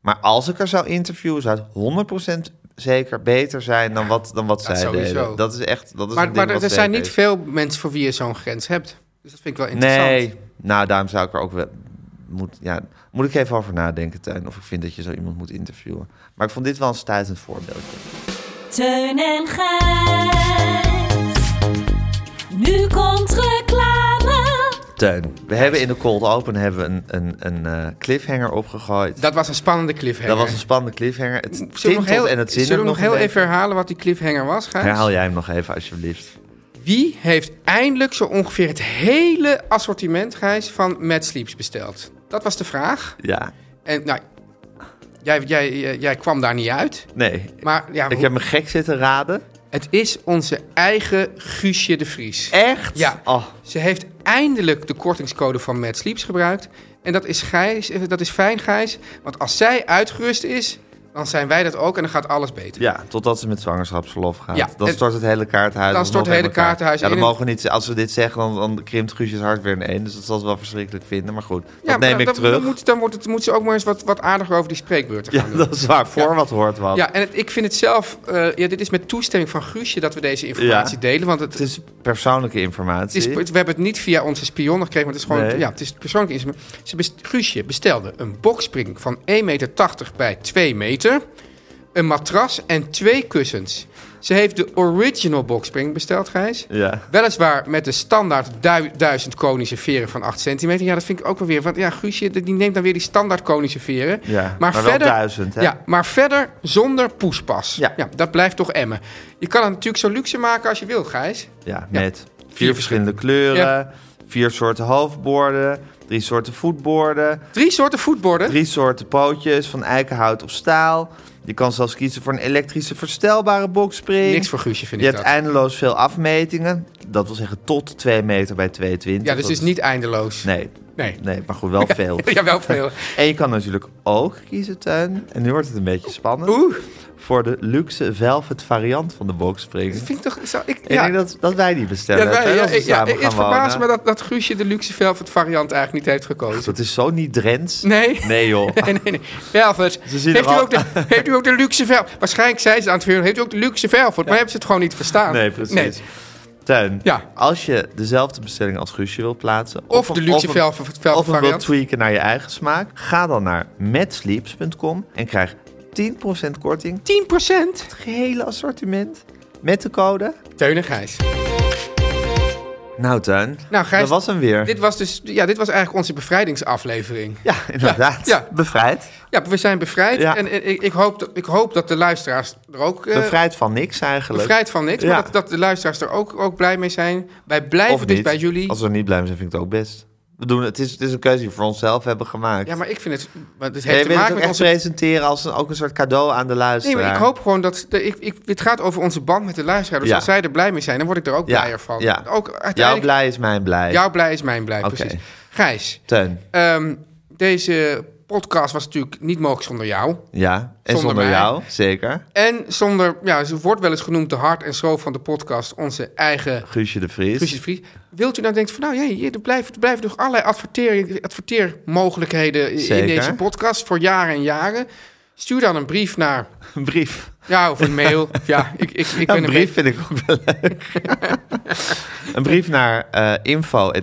Maar als ik haar zou interviewen, zou het 100% zeker beter zijn dan wat, dan wat zij
sowieso.
deden. Dat is echt, dat is
Maar,
een ding
maar er,
wat
er zijn
zeker
niet
is.
veel mensen voor wie je zo'n grens hebt. Dus dat vind ik wel interessant.
Nee, nou daarom zou ik er ook wel... Moet, ja, moet ik even over nadenken, Tuin, of ik vind dat je zo iemand moet interviewen. Maar ik vond dit wel een stuitend voorbeeldje.
Teun en Gijs. Nu komt reclame.
Tuin, we hebben in de cold open hebben we een, een, een eh, cliffhanger opgegooid.
Dat was een spannende cliffhanger.
Dat was een spannende cliffhanger. Het
Zullen we nog
tintelt
heel,
en het zinnen
zullen we nog
een
heel
beetje.
even herhalen wat die cliffhanger was, Gijs?
Herhaal jij hem nog even, alsjeblieft.
Wie heeft eindelijk zo ongeveer het hele assortiment, Gijs, van Mad Sleeps besteld? Dat was de vraag.
Ja,
En nou, jij, jij, jij, jij kwam daar niet uit.
nee.
Maar ja,
Ik heb me gek zitten raden.
het is onze eigen Guusje de Vries.
Echt?
Ja.
Oh,
Ze heeft eindelijk de kortingscode van Mad Sleeps gebruikt. En dat is, Gijs, eh, dat is fijn, Gijs. Want als zij uitgerust is, dan zijn wij dat ook en dan gaat alles beter.
ja, totdat ze met zwangerschapsverlof gaat.
Ja,
dan
en-
stort het hele kaarthuis.
Dan stort
alsnog
het hele
in elkaar.
kaarthuis
Ja, dan
in en-
mogen we niet, als we dit zeggen, dan, dan krimpt Guusjes hart weer in één. Dus dat zal ze wel verschrikkelijk vinden. Maar goed, dat
maar
neem ik
dan,
terug.
Dan, moet, dan wordt het, moet ze ook maar eens wat, wat aardiger over die spreekbeurten
Ja,
gaan doen.
dat is waar. Voor wat hoort wat.
Ja, en het- ik vind het zelf... eh, ja, dit is met toestemming van Guusje dat we deze informatie
Ja.
delen. Want het,
Het is persoonlijke informatie.
Het is, het- we hebben het niet via onze spion gekregen, maar het is gewoon
Nee.
ja, het is persoonlijk informatie. Ze best, Guusje bestelde een bokspring van 1,80 meter bij 2 meter, een matras en twee kussens. Ze heeft de original bokspring besteld, Gijs.
Ja.
Weliswaar met de standaard du- 1000 konische veren van 8 centimeter. Ja, dat vind ik ook wel weer. Want ja, Guusje die neemt dan weer die standaard konische veren.
Ja, maar wel 1000, hè?
Ja, maar verder zonder poespas.
Ja.
dat blijft toch emmen. Je kan het natuurlijk zo luxe maken als je wil, Gijs.
Ja,
Ja.
met vier verschillende kleuren,
Ja.
vier soorten hoofdborden, drie soorten voetborden,
Drie soorten voetborden.
drie soorten pootjes van eikenhout of staal. Je kan zelfs kiezen voor een elektrische verstelbare bokspring.
Niks voor Guusje vind
Je
ik
hebt
dat.
eindeloos veel afmetingen. Dat wil zeggen tot 2 meter bij 22.
Ja, dus
Dat
het is niet eindeloos.
Nee,
Nee.
nee, maar goed, wel veel.
Ja, wel veel.
En je kan natuurlijk ook kiezen, Tuin. En nu wordt het een beetje spannend.
Oeh.
Voor de luxe velvet variant van de bokspring.
Vind ik toch... Zo, ik,
Ik
ja.
denk dat, dat wij die bestellen.
Ja, wij-
Tuin,
ja,
als we
ik- ja,
samen
ik-
gaan
het verbaast
wonen.
me dat, dat Guusje de luxe velvet variant eigenlijk niet heeft gekozen.
Dat Dus is zo niet Drents.
Nee.
Nee, joh.
Nee, nee, nee. Velvet.
Ze zien
Heeft
er
u,
al-
ook de, heeft u ook de luxe velvet? Waarschijnlijk zei ze aan het vuur, heeft u ook de luxe velvet? Maar hebben ze het gewoon niet verstaan.
Nee, precies. Tuin,
Ja.
als je dezelfde bestelling als Guusje wilt plaatsen...
Of de
hem-
luxe
hem-
velvet,
Of
velvet
hem wilt
variant.
tweaken naar je eigen smaak... ga dan naar matsleeps.com en krijg 10% korting...
10%.
het gehele assortiment met de code...
Teun en Gijs.
Nou, Tuin,
Nou, Gijs,
dat was hem weer.
Dit was dus, ja, dit was eigenlijk onze bevrijdingsaflevering.
Ja, inderdaad.
Ja, ja.
Bevrijd.
Ja, we zijn bevrijd.
Ja.
En eh, ik, ik, hoop, dat- ik hoop dat de luisteraars er ook... eh,
Bevrijd van niks eigenlijk.
Bevrijd van niks,
Ja.
maar dat, dat de luisteraars er ook, ook blij mee zijn. Wij blijven
Of
dus
niet.
bij jullie.
Als we er niet blij mee zijn, vind ik het ook best. We doen, het, is, het is een keuze die we voor onszelf hebben gemaakt.
Ja, maar ik vind het... Maar het
Ja,
heeft
je
te
wil het
maken
ook
met
echt
onze...
presenteren als een, ook een soort cadeau aan de
Nee,
luisteraar.
maar ik hoop gewoon dat... De, ik, ik, het gaat over onze band met de luisteraar. Dus
Ja.
als zij er blij mee zijn, dan word ik er ook
Ja,
blijer van.
ja.
Ook
Jouw
uiteindelijk...
blij is mijn blij.
Jouw blij is mijn blij,
Oké.
precies. Gijs,
Teun,
ehm, deze podcast was natuurlijk niet mogelijk zonder jou.
ja. En zonder,
Zonder mij.
jou, zeker.
En zonder... Ja, ze wordt wel eens genoemd de hart en zo van de podcast. Onze eigen
Guusje de Vries.
Guusje de Vries. Wilt u nou denken van, nou jee, hier, er blijven, er blijven nog allerlei adverteer, adverteermogelijkheden i-
Zeker.
in deze podcast voor jaren en jaren. Stuur dan een brief naar,
Een brief.
ja, of een mail. ja, ik, ik, ik
Ja,
ben
een brief vind ik ook wel leuk. een brief naar eh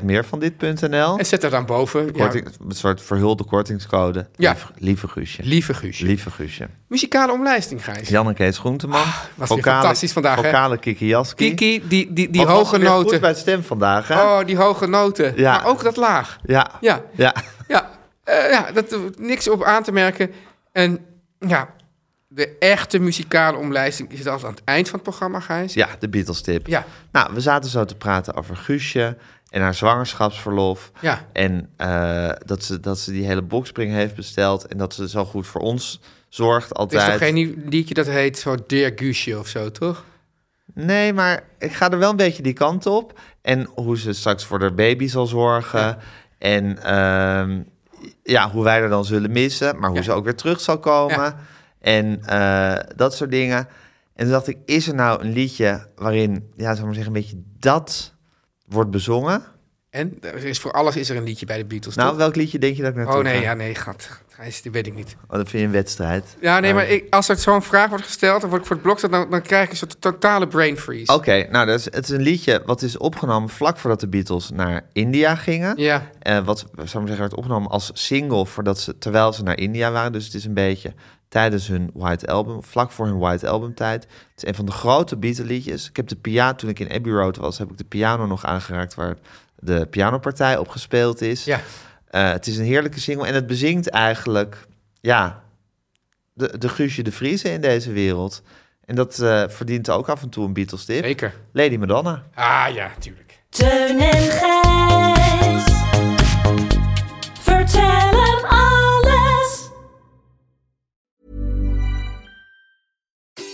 info.meervandit.nl.
En zet dat dan boven. Ja.
Korting, Een soort verhulde kortingscode.
Ja.
Lieve, lieve Guusje.
Lieve Guusje.
Lieve Guusje.
Muzikale omlijsting, Gijs.
Jan en Kees Groenteman.
Ah, was weer fantastisch vandaag, hè?
Vocale Kiki Jaski.
Kiki, die, die, die
Wat was
hoge
er weer goed
noten.
bij stem vandaag, hè?
Oh, die hoge noten.
Ja.
Maar ook dat laag.
Ja.
Ja.
Ja.
Ja, eh, ja dat, eh, niks op aan te merken. En ja, de echte muzikale omlijsting is dan aan het eind van het programma, Gijs.
Ja, de Beatles tip.
Ja.
Nou, we zaten zo te praten over Guusje en haar zwangerschapsverlof.
Ja.
En eh, dat, ze, dat ze die hele bokspring heeft besteld en dat ze zo goed voor ons zorgt
Er is
altijd.
toch geen nieuw liedje dat heet zo Dear Guusje of zo, toch?
Nee, maar ik ga er wel een beetje die kant op. En hoe ze straks voor haar baby zal zorgen. En ehm, ja, hoe wij er dan zullen missen, maar hoe
Ja.
ze ook weer terug zal komen.
Ja.
En eh, dat soort dingen. En toen dacht ik, is er nou een liedje waarin, ja, zou ik maar zeggen, een beetje dat wordt bezongen?
En er is voor alles is er een liedje bij de Beatles.
Nou,
toch?
welk liedje denk je dat ik naartoe
oh nee,
ga?
ja, nee, gat. Gijs, die weet ik niet.
Oh, dat vind je een wedstrijd.
Ja, nee,
Ja.
maar ik, als er zo'n vraag wordt gesteld of word ik voor het blok zet, dan, dan krijg ik een soort totale brain freeze.
Oké, nou, dat is, het is een liedje wat is opgenomen vlak voordat de Beatles naar India gingen.
Ja.
Eh, wat, zou ik maar zeggen, werd opgenomen als single voordat ze, terwijl ze naar India waren. Dus het is een beetje tijdens hun White Album, vlak voor hun White Album tijd. Het is een van de grote Beatle liedjes. Ik heb de piano, toen ik in Abbey Road was, heb ik de piano nog aangeraakt waar de pianopartij op gespeeld is.
Ja.
Eh, het is een heerlijke single en het bezingt eigenlijk, ja, de, de Guusje de Vriezen in deze wereld. En dat eh, verdient ook af en toe een Beatles tip.
Zeker.
Lady Madonna.
Ah ja, tuurlijk.
Teun en Gijs. Vertel hem alles.